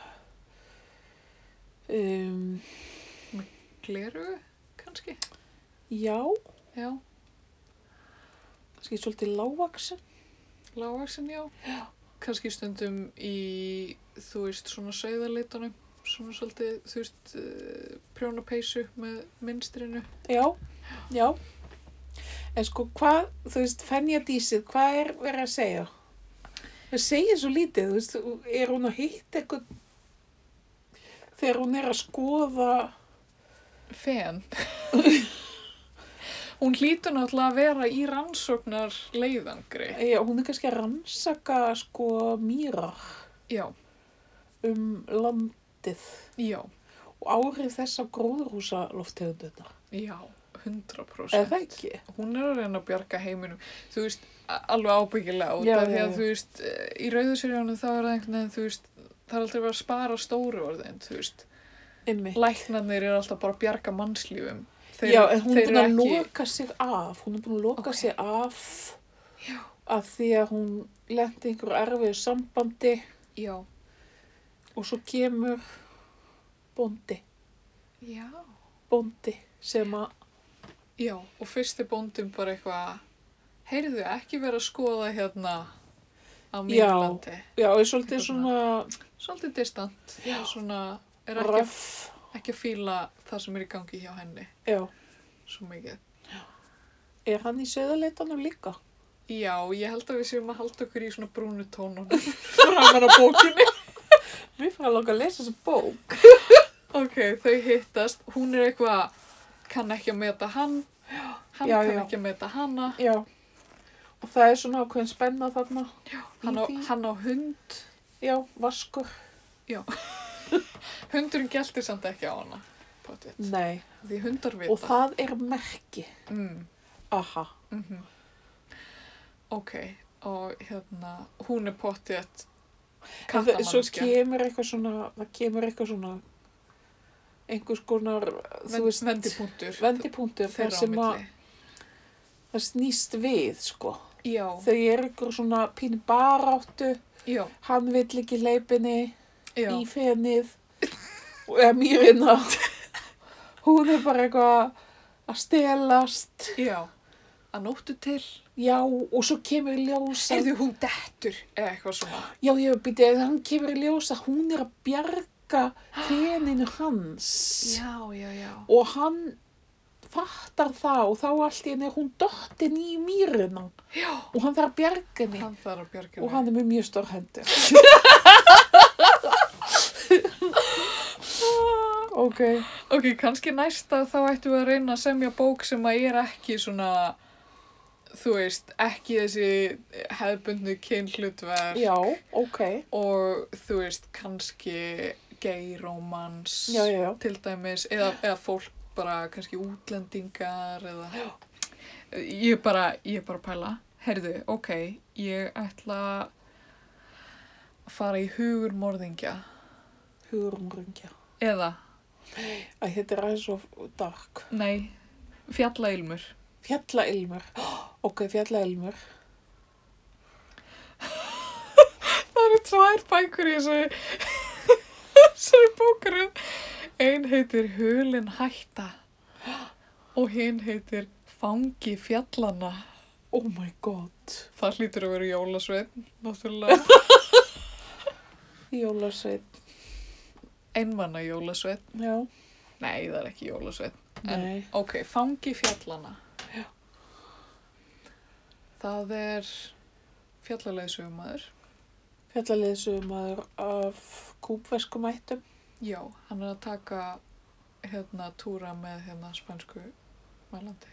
S1: um,
S2: Gleru, kannski?
S1: já,
S2: Já,
S1: kannski svolítið lágvaksin.
S2: lágvaksin, já. Kannski stundum í, þú veist, svona sauðarleitunum, svona svolítið, þú veist, eh, prjóna peysu með minnstrinu.
S1: Já, já. En sko, hvað, þú veist, Fenja Dísið, hvað er verið að segja? Það segir svo lítið, þú veist, er hún að hitta eitthvað þegar hún er að skoða,
S2: Fen. Hún hlýtur náttúrulega að vera í rannsóknar leiðangri.
S1: já, hún er kannski að rannsaka, sko, mýrar
S2: Já,
S1: um landið
S2: já,
S1: og áhrif þess af gróðurhúsa loftegunduna.
S2: já, 100%.
S1: Eða það ekki?
S2: hún er að reyna að bjarga heiminum þú veist, a- alveg ábyggilega út
S1: Já,
S2: af
S1: já,
S2: því að
S1: já.
S2: þú veist, eh, í rauðusirjónum þá er það einhvern veginn, þú veist það er alltaf verið að spara stóru orðin, þú veist
S1: Einmitt.
S2: læknarnir eru alltaf bara að bjarga mannslífum þeir,
S1: Já, en hún er
S2: þeir
S1: búin
S2: eru
S1: að
S2: ekki
S1: loka sig af, hún er búin að loka
S2: Ok.
S1: sig af
S2: Já.
S1: af því að hún lendi einhverju erfiðu sambandi
S2: já,
S1: og svo kemur bóndi,
S2: já,
S1: bóndi sem að,
S2: já og fyrst er bóndin bara eitthvað heyrðu, ekki vera að skoða hérna á
S1: Já.
S2: mínu landi
S1: já, er svolítið svona
S2: svolítið distant
S1: Já.
S2: svona, er ekki,
S1: röf,
S2: að- ekki að fíla það sem er í gangi hjá henni
S1: já,
S2: svo mikið
S1: er hann í söðarleitanum líka?
S2: <laughs> Já, ég held að við séum að halda okkur í svona brúnu tónunum framar á bókinni.
S1: <laughs> Mér fyrir að langa að lesa þessa bók.
S2: <laughs> ok, þau hittast, hún er eitthvað, kann ekki að meta hann, hann
S1: Já,
S2: kann
S1: já.
S2: ekki að meta hana,
S1: Já, og það er svona ákveðin spenna þarna,
S2: hann á,
S1: Í því.
S2: hann á hund,
S1: já, vaskur,
S2: hundurinn geltir samt ekki á hana, potið,
S1: nei,
S2: því hundar vita.
S1: Mm. og það er merki,
S2: Mm,
S1: aha,
S2: mhm. Ok, og hérna, hún er potið
S1: En það- svo
S2: kattamannskja,
S1: kemur eitthvað svona, það kemur eitthvað svona, einhvers konar, þú veist,
S2: vendipunktur
S1: vendipunktur þar
S2: þeirra á
S1: sem að
S2: milli.
S1: það snýst við, sko.
S2: Já,
S1: Þau eru ykkur svona pínu baráttu,
S2: já,
S1: hann vill ekki leipinni
S2: já.
S1: í fenið, og eða mýrina, <laughs> hún er bara eitthvað að stelast,
S2: Já, að nóttu til.
S1: já, og svo kemur í ljós að,
S2: hún dettur? Eða eitthvað svona.
S1: já, ég byrja, hann kemur í ljós að hún er að
S2: <gasps>
S1: bjarga feninu hans.
S2: Já, já, já.
S1: og hann fattar það og þá allt í henni hún dottin í mýrina
S2: Já.
S1: og hann þarf að bjarga henni
S2: Hann þarf að bjarga <laughs>
S1: og hann er með mjög stór hendur ok.
S2: Ok, kannski næsta þá ættum við að reyna að semja bók sem að er ekki svona, þú veist, ekki þessi hefðbundnu kynhlutverk
S1: Já, ok.
S2: og þú veist, kannski gay romance
S1: Já, já, já.
S2: til dæmis eða, eða fólk bara kannski útlendingar eða ég er bara, ég er bara að pæla herðu, ok, ég ætla að fara í hugur morðingja
S1: Hugurumringja.
S2: eða,
S1: Æ, þetta er aðeins svo dark.
S2: nei, fjalla ilmur
S1: Fjallailmur. <gasps> Ok, fjallailmur.
S2: Það eru tvær bækur í þessu, <laughs> þessari bókarum. Ein heitir Hulin hætta og hinn heitir Fangi fjallana.
S1: Oh my god.
S2: Það hlýtur að vera jólasveinn, náttúrulega.
S1: Jólasveit.
S2: Einmanna jólasveinn.
S1: Já.
S2: Nei, það er ekki jólasveinn. En,
S1: Nei.
S2: ok, Fangi fjallana.
S1: Já.
S2: Það er fjallaleiðsögumadur.
S1: Fjallaliðsumæður af kúbveskum ættum.
S2: Já, hann er að taka hérna túra með hérna spænsku mælandi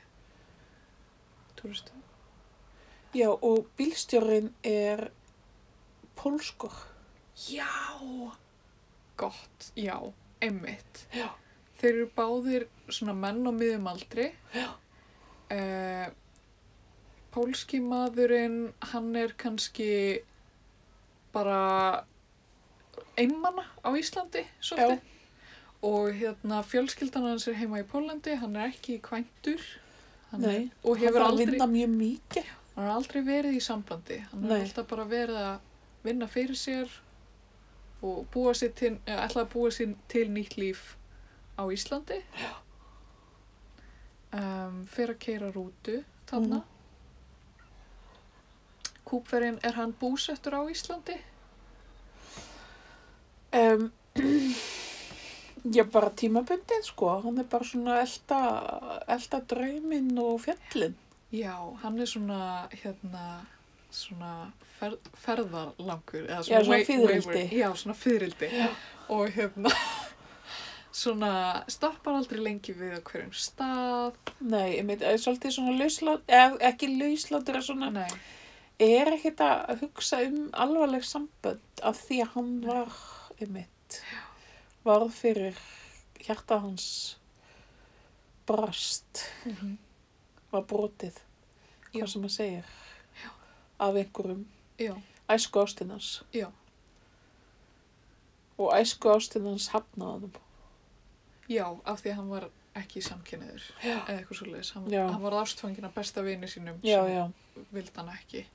S2: túristu.
S1: Já, og bílstjórin er pólskur.
S2: Já! Gott, já, emmitt.
S1: Já.
S2: Þeir eru báðir svona menn á miðum aldri. Já. Eh, pólski maðurinn, hann er kannski bara einmanna á Íslandi, svolítið. Og hérna fjölskyldan hans er heima í Pólandi, hann er ekki kvæntur. Hann er-
S1: Nei,
S2: og
S1: Hann
S2: hefur
S1: þarf að
S2: aldrei,
S1: vinna mjög mikið.
S2: hann er aldrei verið í sambandi. Hann
S1: Nei.
S2: er alltaf bara verið að vinna fyrir sér og búa sér til, eða ætla að búa sér til nýtt líf á Íslandi. Já. Um, fyrir að keira rútu þarna. Mm. Kúpverinn, er hann búsettur á Íslandi?
S1: Um, <clears throat> já, bara tímabundið, sko. Hann er bara svona að elta, elta drauminn og fjallin.
S2: Já, hann er svona, hérna, svona fer, ferðarlangur. eða
S1: Já, svona
S2: wai-
S1: fiðrildi.
S2: wayward- Já, svona fyririldi. Og hérna, <laughs> svona stoppar aldrei lengi við á hverjum stað.
S1: Nei, ég meit, er svolítið svona lauslátt, eða ekki lauslátt, er svona,
S2: Nei,
S1: er ekkert að hugsa um alvarleg sambönd af því að hann var, ég meit, varð fyrir hjarta hans brast,
S2: Mhm.
S1: var brotið,
S2: Já.
S1: hvað sem að segja, af einhverjum
S2: já,
S1: æsku ástinans
S2: Já.
S1: og æsku ástinans hafnaðanum
S2: já, af því að hann var ekki samkynniður.
S1: Já.
S2: Eða eitthvað svo leiðis. Hann,
S1: Já.
S2: hann var ástfangin af besta vini sínum
S1: já,
S2: sem
S1: já,
S2: vildi hann ekki.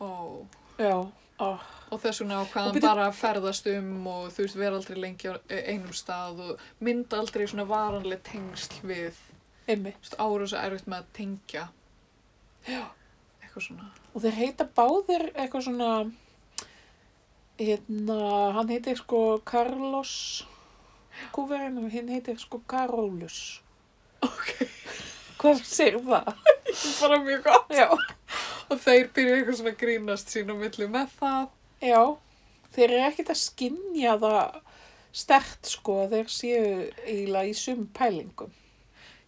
S2: Ó,
S1: já ah,
S2: Og þess vegna ákvað
S1: Og
S2: hann
S1: byrju-
S2: bara að ferðast um og þú veist vera aldrei lengi á eh, einum stað og mynda aldrei svona varanlega tengsl við
S1: einmitt
S2: Þú veist, ára svo erfitt með að tengja eitthvað svona
S1: og þeir heita báðir eitthvað svona hérna, hann heitir sko Carlos kúverinn og hinn heitir sko Carolus
S2: ok, <laughs>
S1: hvað segir það?
S2: bara mjög gott
S1: já,
S2: og þeir byrja eitthvað svona að grínast sín á milli með það
S1: já þeir eru ekkert að skinja það stert sko að þeir séu eiginlega í sum pælingum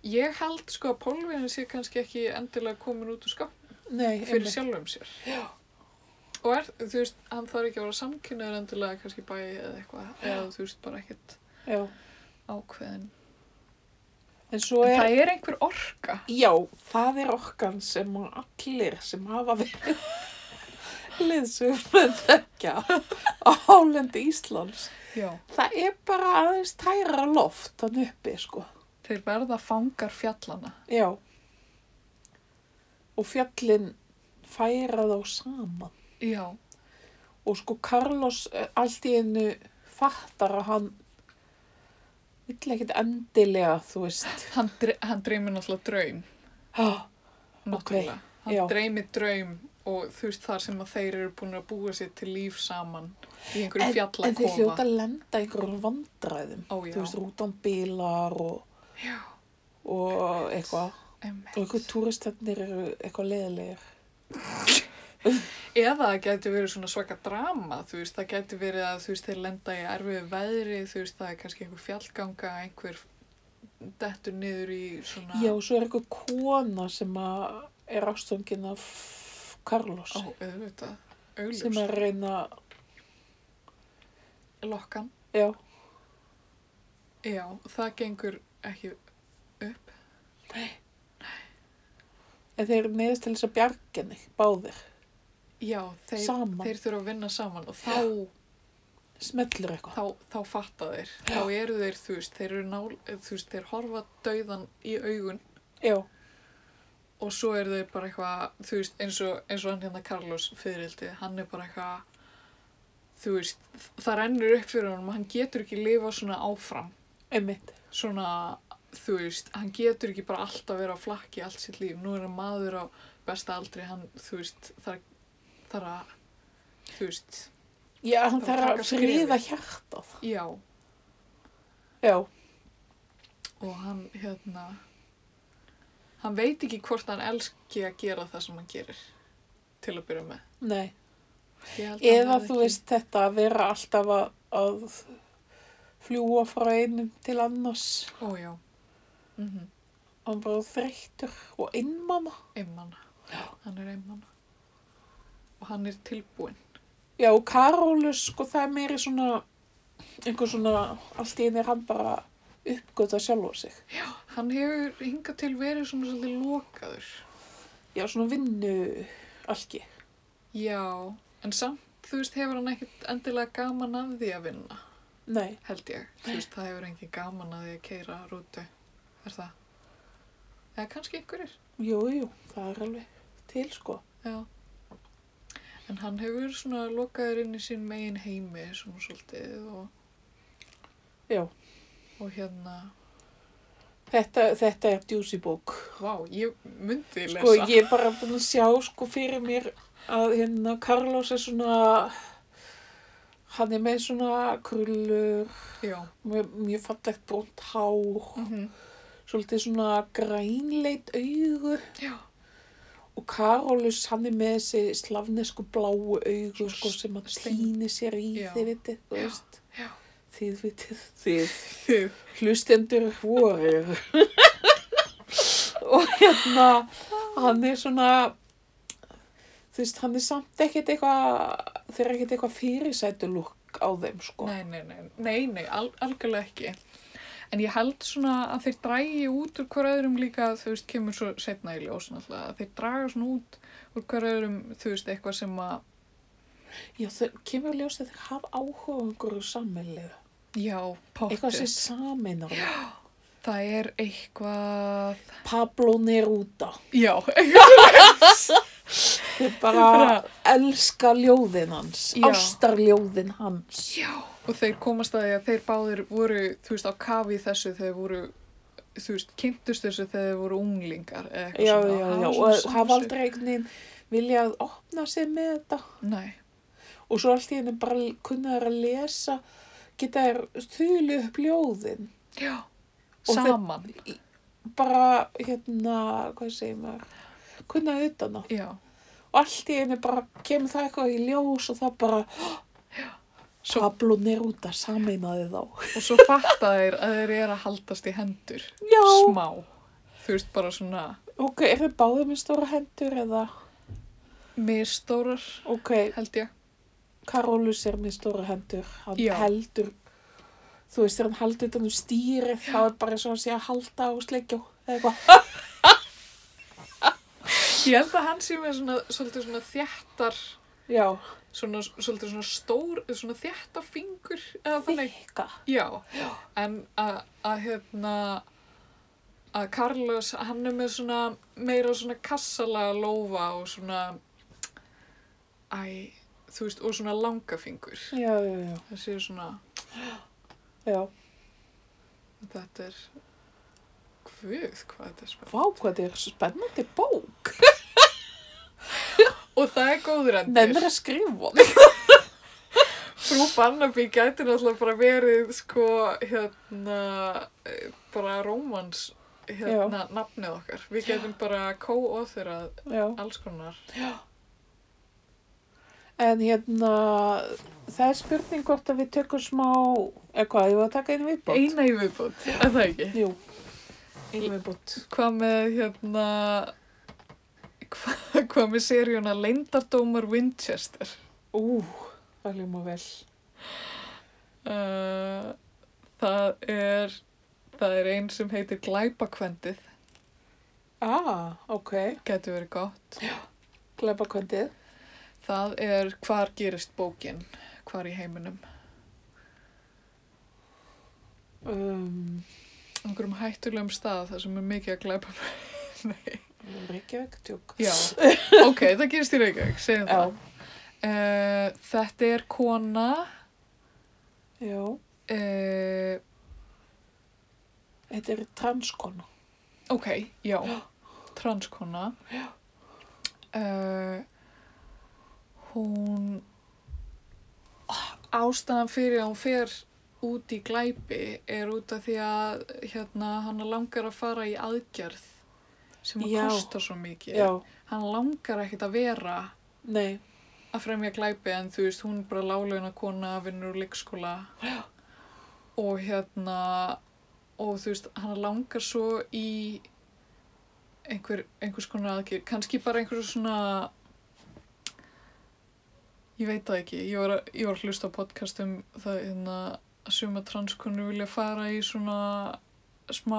S2: ég held sko að pólvinu sé kannski ekki endilega komin út úr skap
S1: nei,
S2: fyrir
S1: einmitt.
S2: sjálfum sér já. og er, þú veist, hann þarf ekki að vera samkynnaður endilega kannski bæði eða eitthvað eða þú veist bara ekkert
S1: já
S2: ákveðin
S1: en svo
S2: en
S1: er
S2: það er einhver orka
S1: Já, það er orkan sem að allir sem hafa verið <laughs> liðsumlönd þekkja á hálendi Íslands.
S2: já.
S1: Það er bara aðeins tæra loft þannig uppi, sko.
S2: þeir verða fangar fjallana
S1: Já. Og fjallin færa þá saman.
S2: já,
S1: Og sko Carlos eh, allt í einu fattar að hann vill ekkit endilega, þú <gasps> veist.
S2: hann, dre- hann dreymir náttúrulega draum
S1: Há,
S2: Náttúrulega. Hann
S1: já.
S2: dreymir draum og þú veist þar sem að þeir eru búin að búa sér til líf saman í einhverju
S1: en,
S2: fjalla
S1: en þeir hljóta að lenda einhverjum vandræðum.
S2: Ó já,
S1: þú veist, rútan bílar og,
S2: Já.
S1: og eitthvað.
S2: einmitt.
S1: Og einhver túristarnir eru eitthvað leðilegir.
S2: Eða það getur verið svona svaka drama, þú veist, það getur verið að þú veist, þeir lenda í erfiðu veðri, þú veist, það er kannski einhver fjallganga, einhver dettur niður í svona...
S1: Já, og svo er eitthvað kona sem að er ástöngin af Carlos
S2: Ó, auðvitað,
S1: sem er
S2: auðvitað,
S1: að reyna,
S2: lokkan.
S1: já,
S2: Já, það gengur ekki upp.
S1: en þeir eru neyðist til þess að bjarginni, báðir,
S2: Já, þeir,
S1: Saman.
S2: þeir þurfa að vinna saman og þá,
S1: smetlur eitthvað.
S2: þá, þá fatta þeir. Þá eru þeir, þú veist, þeir eru nál, þú veist, þeir horfa dauðan í augun
S1: Já,
S2: og svo eru þeir bara eitthvað, þú veist, eins og, eins og hann hérna Carlos fyririldi, hann er bara eitthvað, þú veist, það rennur upp fyrir honum, hann getur ekki lifa svona áfram,
S1: einmitt.
S2: svona, þú veist, hann getur ekki bara alltaf vera á flakki allt sitt líf, nú er hann maður á besta aldri, hann, þú veist, þar, þar að, þú veist,
S1: Já, hann
S2: Og
S1: þarf að
S2: taka skrefið.
S1: friða hjartað.
S2: já,
S1: Já,
S2: og hann, hérna, hann veit ekki hvort hann elski að gera það sem hann gerir, til að byrja með.
S1: nei.
S2: Ég held að hann
S1: Eða
S2: hafi
S1: þú
S2: ekki-
S1: veist þetta að vera alltaf að, að fljúa frá einum til annars.
S2: Ó, já. Mm -hmm.
S1: Hann bara þreyttur og innmana.
S2: Einmann. Hann er einmann. Og hann er tilbúinn.
S1: Já, og Karolus, sko, það er meiri svona, einhver svona, allt í einu er hann bara uppgöta sjálfa sig.
S2: Hann hefur hingað til verið svona svolítið lokaður.
S1: Já, svona vinnu algi.
S2: Já, en samt, þú veist, hefur hann ekkert endilega gaman af því að vinna,
S1: Nei,
S2: held ég. Þú veist, það hefur engin gaman af því að keira rútu. Er það? Eða kannski einhverjir.
S1: jú, jú, það er alveg til, sko.
S2: Já. En hann hefur verið svona lokaður inn í sín megin heimi, svona svolítið, og,
S1: Já,
S2: og hérna...
S1: þetta, þetta er djúsi bók.
S2: Vá, ég myndi lesa.
S1: Sko, ég er bara búin að sjá, sko, fyrir mér að hérna, Karlos er svona, hann er með svona krullur,
S2: Já.
S1: með mjög fallegt brónt hár,
S2: Mm
S1: svolítið svona grænleit augu.
S2: Já.
S1: Og Karolus, hann er með þessi slavnesku bláu augu
S2: Svo
S1: sko, sem að
S2: stein-
S1: týni sér í
S2: Já.
S1: þið vitið, þú
S2: Já,
S1: veist.
S2: já.
S1: Þið vitið, þið
S2: Þið.
S1: hlustendur voru. <laughs> og hérna, hann er svona, þú veist, hann er samt ekkert eitthvað, þeir eru ekkert eitthvað fyrirsætu lúk á þeim, sko.
S2: Nei, nei, nei, nei, nei al algjörlega ekki. En ég held svona að þeir drægi út úr hver öðrum líka, þú veist, kemur svo setna í ljós náttúrulega, að þeir draga svona út úr hver öðrum, þú veist, eitthvað sem að,
S1: Já, þau kemur ljóst að þeir hafa áhuga um einhverju sammeinlega.
S2: já, pottu.
S1: Eitthvað sem sameinar. þá.
S2: Það er eitthvað,
S1: Pablo <laughs> Neruda.
S2: já, eitthvað,
S1: Þau bara
S2: Bara-
S1: elska ljóðin hans,
S2: Já.
S1: ástarljóðin hans.
S2: já. Og þeir komast að því að þeir báðir voru, þú veist, á kafi í þessu þegar þeir voru, þú veist, kynntust þessu þegar þeir voru unglingar eða eitthvað
S1: Já,
S2: svona.
S1: já,
S2: Hafa svona
S1: já, og hafa
S2: samsvip.
S1: aldrei einhvern veginn viljað opna sig með þetta
S2: Nei,
S1: og svo allt í henni bara kunna þær að lesa, geta þær þuli upp ljóðin,
S2: já,
S1: Og þeir-
S2: saman,
S1: bara hérna, hvað segir maður, kunna utan á
S2: já.
S1: og allt í henni bara kemur það eitthvað í ljós og það bara,
S2: Svo-
S1: Pablo Neruda sameinaði þá.
S2: og svo fatta þeir að þeir eru að haldast í hendur
S1: Já,
S2: smá þú veist bara svona
S1: ok, er þið báðið með stóra hendur eða,
S2: misstórar
S1: ok,
S2: held ég
S1: Karolus er með stóra hendur, hann
S2: Já.
S1: heldur, þú veist, þegar hann heldur utan um stýrið, þá er bara eins og hann sé að halda og sleikja eða eitthvað.
S2: Ah! ég held að hann sé með svona svolítið svona þjættar
S1: Já,
S2: svona svolítið svona stór svona þjættar fingur eða þannig
S1: þykka.
S2: já en að að hérna að Carlos hann er með svona meira svona kassalega lófa og svona æ þú veist og svona langafingur
S1: Já, já, já,
S2: það séu svona
S1: já.
S2: Þetta er, hvud, hvað þetta er spennandi.
S1: Vá, hvað þetta er spennandi bók.
S2: Og það er góður endur.
S1: Nennir að skrifa um. hann.
S2: Frú Barnaby gæti náttúrulega bara verið, sko, hérna, eh, bara rómans, hérna, nafnið okkar. Við getum bara co-authorað
S1: Já,
S2: alls konar.
S1: En hérna, það er spurning hvort að við tökum smá, eða hvað, ég var að taka einu viðbót.
S2: Eina í viðbót, er það ekki?
S1: Jú, einu viðbót.
S2: Hvað með hérna hva, hvað með seríuna Leindardómar Winchester
S1: Ú, það hljóma vel.
S2: uh, það er það er ein sem heitir Glæpakvendið
S1: Ah, ok.
S2: getur verið gott
S1: Gleipakvöndið.
S2: það er hvar gerist bókin hvar í heiminum
S1: Um,
S2: einhverjum hættulegum stað þar sem er mikið að <laughs> glæpa Nei.
S1: Reykjavík, tjók.
S2: já, ok, það gerist í Reykjavík segjum
S1: Já,
S2: það uh, þetta er kona
S1: já.
S2: uh,
S1: Þetta er transkonu.
S2: Ok, já, <gasps> transkona. Já. hún, ástæðan fyrir að hún fer út í glæpi er út af því að hérna, hann langar að fara í aðgerð sem að
S1: Já.
S2: kosta svo mikið.
S1: Já,
S2: Hann langar ekkit að vera
S1: nei.
S2: að fremja glæpi en þú veist, hún er bara láglauna kona, vinnur úr
S1: <gasps>
S2: leikskóla og hérna og þú veist, hann langar svo í einhver, einhvers konar aðgerð, kannski bara einhversu svona ég veit það ekki, ég var, að- ég var að hlusta á podcast um það hérna að suma transkonu vilja fara í svona smá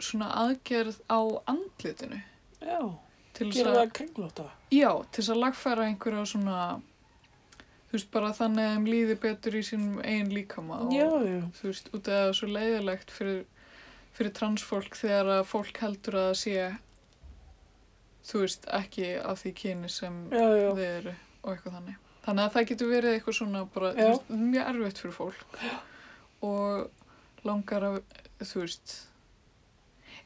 S2: svona aðgerð á andlitinu
S1: Já,
S2: til þess
S1: gera
S2: að
S1: það kringlóta.
S2: Já, til þess að lagfæra einhverja svona, þú veist, bara þannig að þeim líði betur í sínum eigin líkama og
S1: Já, já.
S2: þú veist, út af það er svo leiðilegt fyrir, fyrir transfólk þegar að fólk heldur að það sé, þú veist, ekki af því kyni sem
S1: Já, já.
S2: þið eru og eitthvað þannig. Þannig að það getur verið eitthvað svona bara,
S1: Já.
S2: þú veist, mjög erfitt fyrir fólk og langar að, þú veist,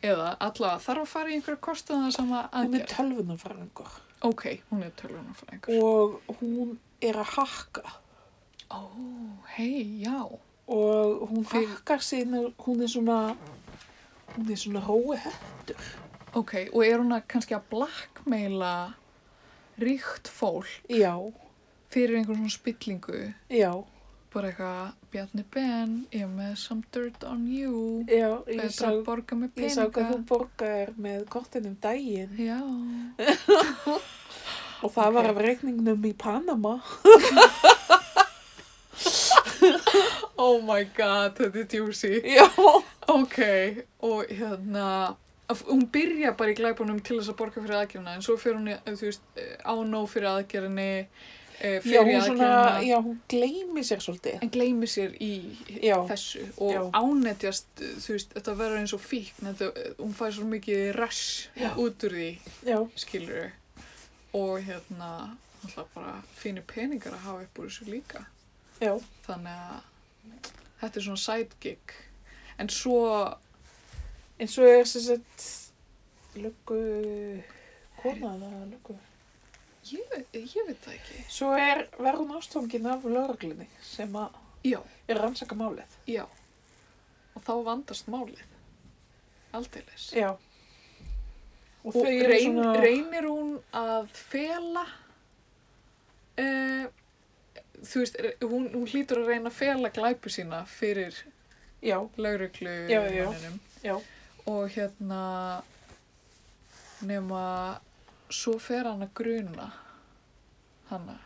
S2: eða allavega þarf að fara í einhverja kostaða sama
S1: Hún er
S2: aðgerð.
S1: tölvunarfræðingur
S2: Ok, hún er tölvunarfræðingur.
S1: og hún er að hakka
S2: Ó, hei, já.
S1: og hún
S2: Fyrir-
S1: hakkar sig inn og hún er svona hún er svona hói hættur
S2: Ok, og er hún að kannski að blackmaila ríkt fólk
S1: já,
S2: fyrir einhvern svona spillingu?
S1: já,
S2: Bara eitthvað, Bjarni Ben, ég er með some dirt on you.
S1: já ég
S2: Betra
S1: sá,
S2: að borga með
S1: ég sá
S2: peninga.
S1: hvað þú borgar með kortinum daginn
S2: Já.
S1: og það var
S2: Ok.
S1: af reikningnum í Panama
S2: Oh my god, þetta er juicy.
S1: <laughs> já,
S2: Ok, og hérna, af- hún byrja bara í glæpunum til þess að borga fyrir aðgerðina, en svo fyrir hún, í- þú veist, á nóg fyrir aðgerðinni, eh,
S1: já,
S2: fyrir
S1: hún svona
S2: aðgerðina.
S1: já, hún gleymi sér svolítið
S2: en gleymi sér í
S1: Já.
S2: þessu og
S1: Já.
S2: ánetjast, þú veist, þetta verður eins og fíkn, þetta, hún fær svo mikið rash
S1: Já.
S2: út úr því,
S1: já,
S2: skilur og hérna, alltaf bara fínir peningar að hafa upp úr þessu líka
S1: já,
S2: þannig að þetta er svona side gig en svo,
S1: en svo er sem sagt löggu kona það löggu
S2: ég, ve- ég veit það ekki
S1: svo er verður hún ástofngin af lögreglunni sem að
S2: já,
S1: er rannsaka málið
S2: já og þá vandast málið aldeilis
S1: já og,
S2: Og
S1: þau eru
S2: reyn,
S1: svona
S2: reynir hún að fela, uh, þú veist, re- hún, hún hlýtur að reyna að fela glæpu sína fyrir
S1: já,
S2: lauruglu
S1: Já, já, já.
S2: Og hérna, nema, svo fer hann að gruna hana.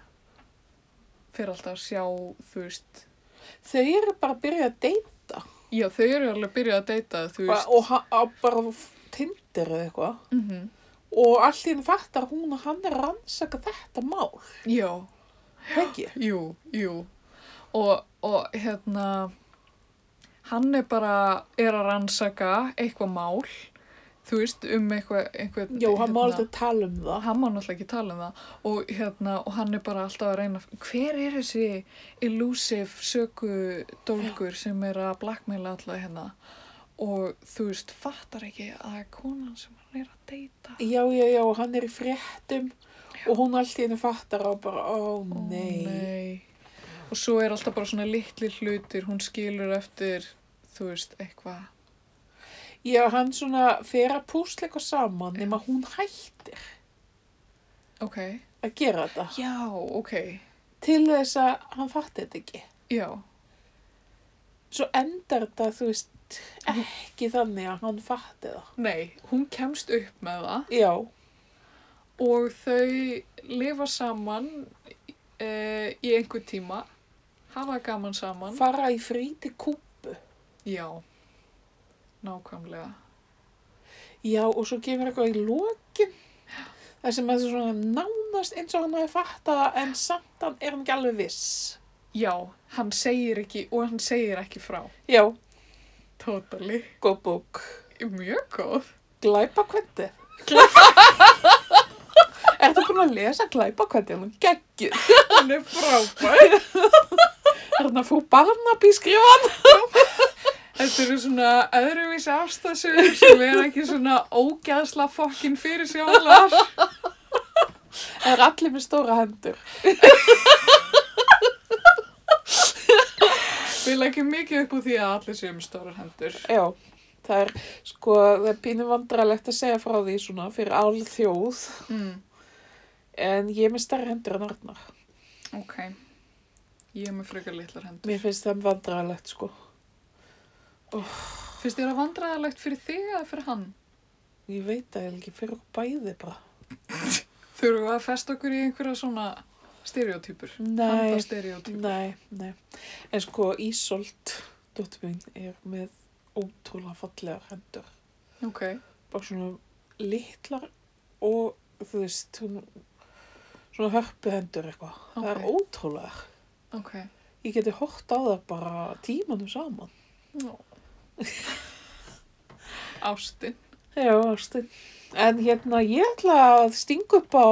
S2: Fer alltaf að sjá, þú veist,
S1: þau eru bara að byrja að deyta
S2: já þau eru alveg að byrja að deyta, þú
S1: bara,
S2: veist.
S1: og ha- á bara tindir eða eitthvað
S2: Mm
S1: og allt í henni fattar hún að hann er að rannsaka þetta mál,
S2: Já.
S1: ekki?
S2: Jú, jú. Og, og hérna, hann er bara, er að rannsaka eitthvað mál, þú veist, um eitthvað, eitthvað, hérna,
S1: Já, hann má aldrei tala um það.
S2: Hann má náttúrulega ekki tala um það og hérna, og hann er bara alltaf að reyna, hver er þessi elusive sökudólgur sem er að blackmaila alla hérna og þú veist, fattar ekki að það er konan sem hann er að deyta.
S1: Já, já, já, og hann er í fréttum og hún allt í henni fattar á bara, ó
S2: Ó,
S1: nei.
S2: nei. Og svo er alltaf bara svona litli hlutir, hún skilur eftir, þú veist, eitthvað.
S1: Já, hann svona fer að púsla eitthvað saman nema hún hættir
S2: Ok.
S1: að gera þetta
S2: Já, ok.
S1: til þess að hann fatti þetta ekki.
S2: Já,
S1: Svo endar þetta, þú veist, ekki þannig að hann fatti það.
S2: nei, hún kemst upp með það
S1: Já,
S2: og þau lifa saman e, í einhver tíma, hafa gaman saman.
S1: fara í frí til kúpu.
S2: Já, nákvæmlega.
S1: Já, og svo kemur eitthvað í lokin. Það sem er svona nánast eins og hann hafi fattað það en samt hann er hann ekki alveg viss.
S2: Já, hann segir ekki og hann segir ekki frá.
S1: Já,
S2: Totally.
S1: góð bók.
S2: Mjög góð.
S1: Glæpa kvendi. <laughs> er það búin að lesa glæpa kvendi? Hann geggir.
S2: Hún er frábær.
S1: Er það frú Barnaby skrifa?
S2: Þetta eru svona öðruvísi afstæðsögur sem er ekki svona ógæðsla fokkin fyrir sjálar.
S1: Er allir með stóra hendur?
S2: Við leggjum mikið upp úr því að allir séum stórar hendur.
S1: Já. Það er, sko, það er pínu vandralegt að segja frá því svona fyrir alþjóð.
S2: Mm.
S1: En ég er með stærri hendur en Arnar.
S2: Ok. Ég er með frekar litlar hendur.
S1: Mér finnst það vandralegt, sko.
S2: Finnst þér það vandræðalegt fyrir þig eða fyrir hann?
S1: Ég veit það eiginlega ekki fyrir okkur bæði bara.
S2: Þurfum við að festa okkur í einhverja svona stereotypur?
S1: Nei,
S2: Handastereotypur.
S1: nei, nei. En sko, Ísolt, dóttir mín, er með ótrúlega fallegar hendur.
S2: Ok.
S1: bara svona litlar og þú veist hún, svona hörpuhendur eitthvað það er
S2: Ok.
S1: ótrúlega
S2: Ok.
S1: ég geti hort á það bara tímanum saman
S2: Ó. <laughs> Ástin.
S1: já, ástin en hérna ég ætla að stinga upp á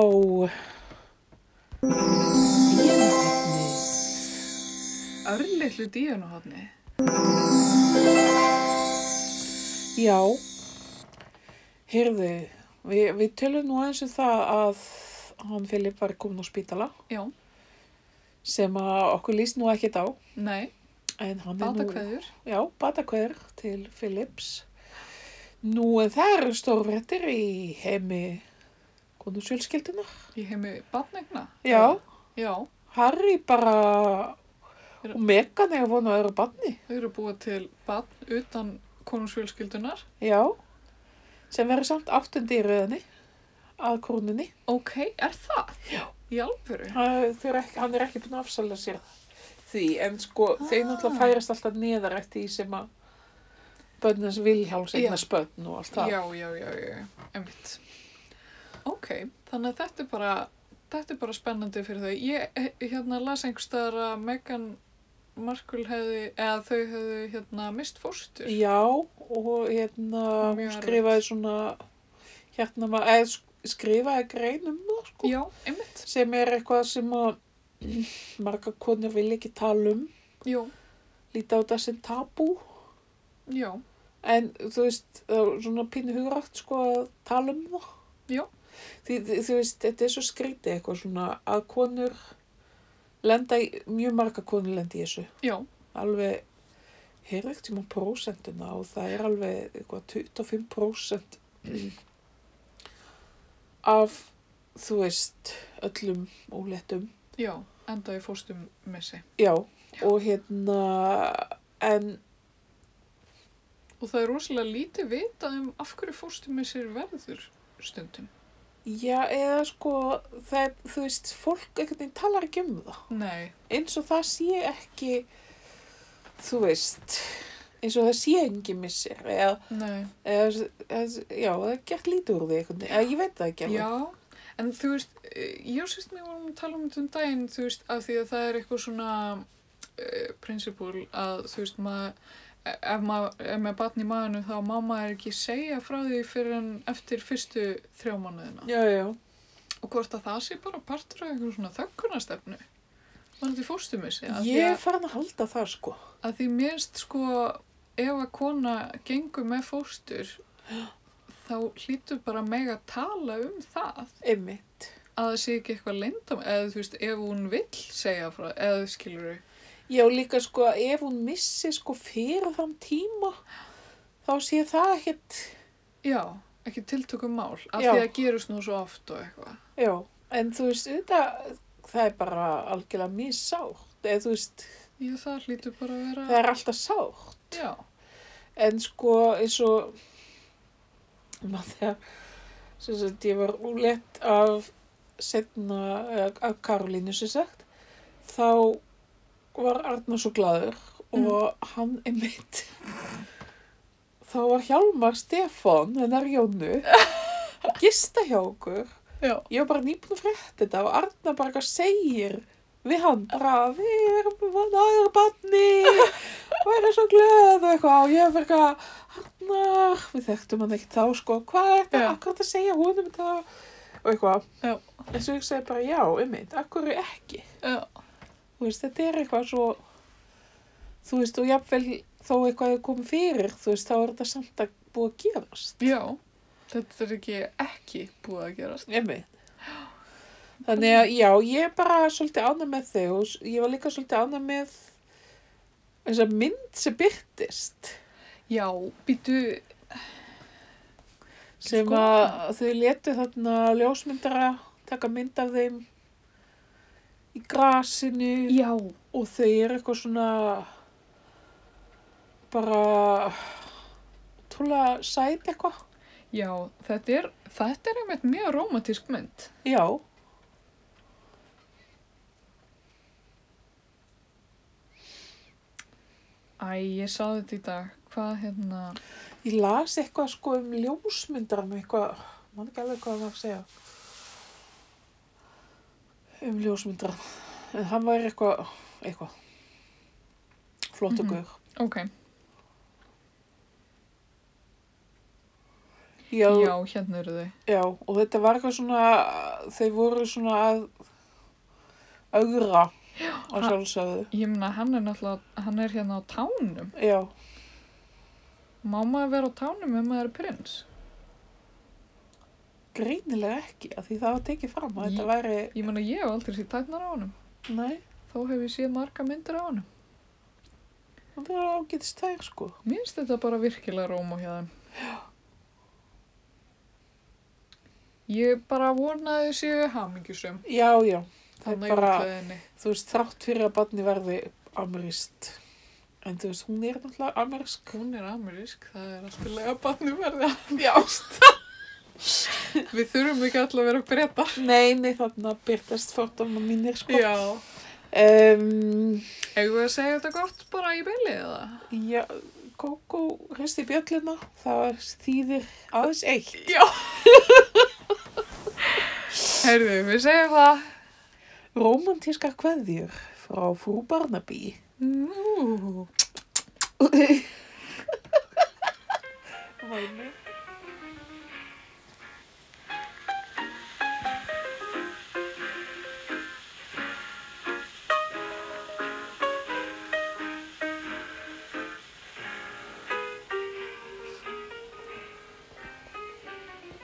S2: Örlitlu díunuhotni.
S1: já heyrðu við, við tölum nú eins um það að hann Filip var komin á spítala
S2: Já.
S1: sem að okkur líst nú ekkert á
S2: Nei.
S1: en hann er nú
S2: Batakveður.
S1: Já, batakveður til Philips. Nú en það eru stórfréttir í heimi konusjölskyldunar.
S2: Ég hef mig batnegna.
S1: Já,
S2: Já.
S1: Harry bara og Megan er að vona að öðru banni.
S2: Þau eru búið til barn utan konungsfjölskyldunar.
S1: Já, sem verður samt áttundi í röðinni að krúninni.
S2: Ok, er það? Já. Í alvöru?
S1: Það- þau eru ekki- Hann er ekki búin að afsala sér því, en sko þau
S2: Ah.
S1: náttúrulega færast alltaf neðar eftir því sem að bönnins Vilhjálms
S2: Já.
S1: eignast bönn og allt það.
S2: Já, já, já, já, emitt. Ok, þannig að þetta er bara, þetta er bara spennandi fyrir þau. Ég eh, hérna las einhverstaðar að Meghan Markle hefði, eða þau hefðu hérna mist fórstur.
S1: Já, og hérna
S2: Mjög
S1: hún
S2: erfitt.
S1: skrifaði svona hérna maður, eða sk- skrifaði grein um það sko,
S2: Já, emitt.
S1: sem er eitthvað sem að marga konur vil ekki tala um,
S2: Já,
S1: líta á þetta sem tabú,
S2: já,
S1: en þú veist, það er svona pínu hugrætt sko að tala um það.
S2: Já.
S1: Því, því, þú veist, þetta er svo skrítið eitthvað svona að konur lenda í, mjög marga konur lenda í þessu.
S2: já,
S1: alveg heyrðu ekkert um prósentuna og það er alveg eitthvað 25% af þú veist öllum óléttum
S2: já, enda í fórstum missi.
S1: já, og hérna en
S2: Og það er rosalega lítið vitað um af hverju fórstum missir verður stundum.
S1: já, eða sko það, er, þú veist, fólk einhvern veginn talar ekki um það
S2: Nei,
S1: eins og það sé ekki þú veist eins og það sé engin missir eða,
S2: nei.
S1: eða, eða já, það er gert lítið úr því einhvern veginn, eða ég veit það ekki alveg.
S2: Já, en þú veist, eh, ég og sýst mig vorum að tala um þetta um daginn, þú veist, af því að það er eitthvað svona uh, prinsipúl að, þú veist, maður, ef maður er með batn í maðunum þá má maður ekki segja frá því fyrir en eftir fyrstu þrjá mánuðina.
S1: Já, já.
S2: Og hvort að það sé bara partur af einhverjum svona þökkunastefnu. Þannig til fóstumissi.
S1: Ég er farin að halda það sko.
S2: að því mérst sko ef að kona gengur með fóstur þá hlýtur bara meg að tala um það
S1: Einmitt.
S2: að það sé ekki eitthvað leyndam eða þú veist ef hún vill segja frá eða þú skilur
S1: Já, líka sko að ef hún missi sko fyrir þann tíma, þá sé það ekkert,
S2: já ekki tiltökum mál af
S1: Já.
S2: því að gerist nú svo oft og eitthvað
S1: já, en þú veist, auðvitað, það er bara algjörlega mjög sárt eða þú veist,
S2: Ég það hlýtur bara að vera...
S1: það er alltaf sárt
S2: Já.
S1: en sko eins og maður þegar sem sagt ég var úlett af setna, af Karolínu sem sagt, þá var Arnar svo glaður og hann einmitt þá var Hjálmar Stefán, hennar Jónu að gista hjá okkur
S2: Já.
S1: ég var bara nýbúin að frétta þetta og Arnar bara eitthvað segir við hann bara við erum að náður banni
S2: <laughs>
S1: og erum svo glöð og eitthvað og ég var bara eitthvað Arnar, við þekktum hann ekkert þá sko hvað er þetta,
S2: Já.
S1: akkur þetta segja hún um þetta og eitthvað
S2: Já.
S1: en svo ég segi bara já, einmitt, akkur ekki
S2: Já.
S1: þú veist, þetta er eitthvað svo þú veist, og jafnvel þó eitthvað er komið fyrir, þú veist, þá er þetta samt að búið að gerast
S2: Já. Þetta er ekki ekki búið að gerast.
S1: Einmitt. Þannig að já, ég er bara svolítið ánæg með þau og s- ég var líka svolítið ánæg með þess að mynd sem byrtist
S2: Já, býtu...
S1: sem
S2: Sko.
S1: að þau letu þarna ljósmyndara taka mynd af þeim í grasinu
S2: Já.
S1: og þau eru eitthvað svona bara tóla sæt eitthvað.
S2: Já, þetta er, þetta er einmitt mjög romantísk mynd.
S1: Já,
S2: Æ, ég sá þetta í dag. Hvað hérna...
S1: ég las eitthvað sko um ljósmyndara með eitthvað, mann ekki alveg hvað það var að segja. Um ljósmyndara. En hann var eitthvað, eitthvað, flott og
S2: Mhm.
S1: guður.
S2: Ok,
S1: Já,
S2: já,
S1: já.
S2: hérna eru þau.
S1: og þetta var eitthvað svona, þau voru svona að augra á
S2: ha-
S1: sjálfsögðu.
S2: Ég meina, hann er náttúrulega, hann er hérna á tánum.
S1: Já,
S2: Má maður vera á tánum ef maður er prins?
S1: greinilega ekki, af því það var tekið fram að
S2: Ég-
S1: þetta væri,
S2: Ég meina, ég hef aldrei séð tæknar á honum.
S1: nei,
S2: Þó hef ég séð marga myndir á honum.
S1: það var ágætist þær sko.
S2: Mér finnst þetta bara virkilega róma hjá þeim. Ég bara vonaði þau séu hamingjusum.
S1: Já, já, það er
S2: Þannig
S1: bara...
S2: að ég
S1: þú veist, þrátt fyrir að barni verði amerist. En þú veist, hún er náttúrulega amerisk.
S2: Hún er amerísk, það er alltaf lega bannum verða.
S1: Já.
S2: Við þurfum ekki alltaf að vera breyta.
S1: Nei, nei, þarna byrtast fordóma mínir, sko.
S2: Já.
S1: Um,
S2: Eigum við að segja þetta gott bara í bylið eða?
S1: já, Kókó hristi bjöllina, það var þýðir aðeins eitt.
S2: Já. Herðu, við segjum það.
S1: Rómantíska kveðjur frá frú Barnaby.
S2: Nú.
S1: Væmið.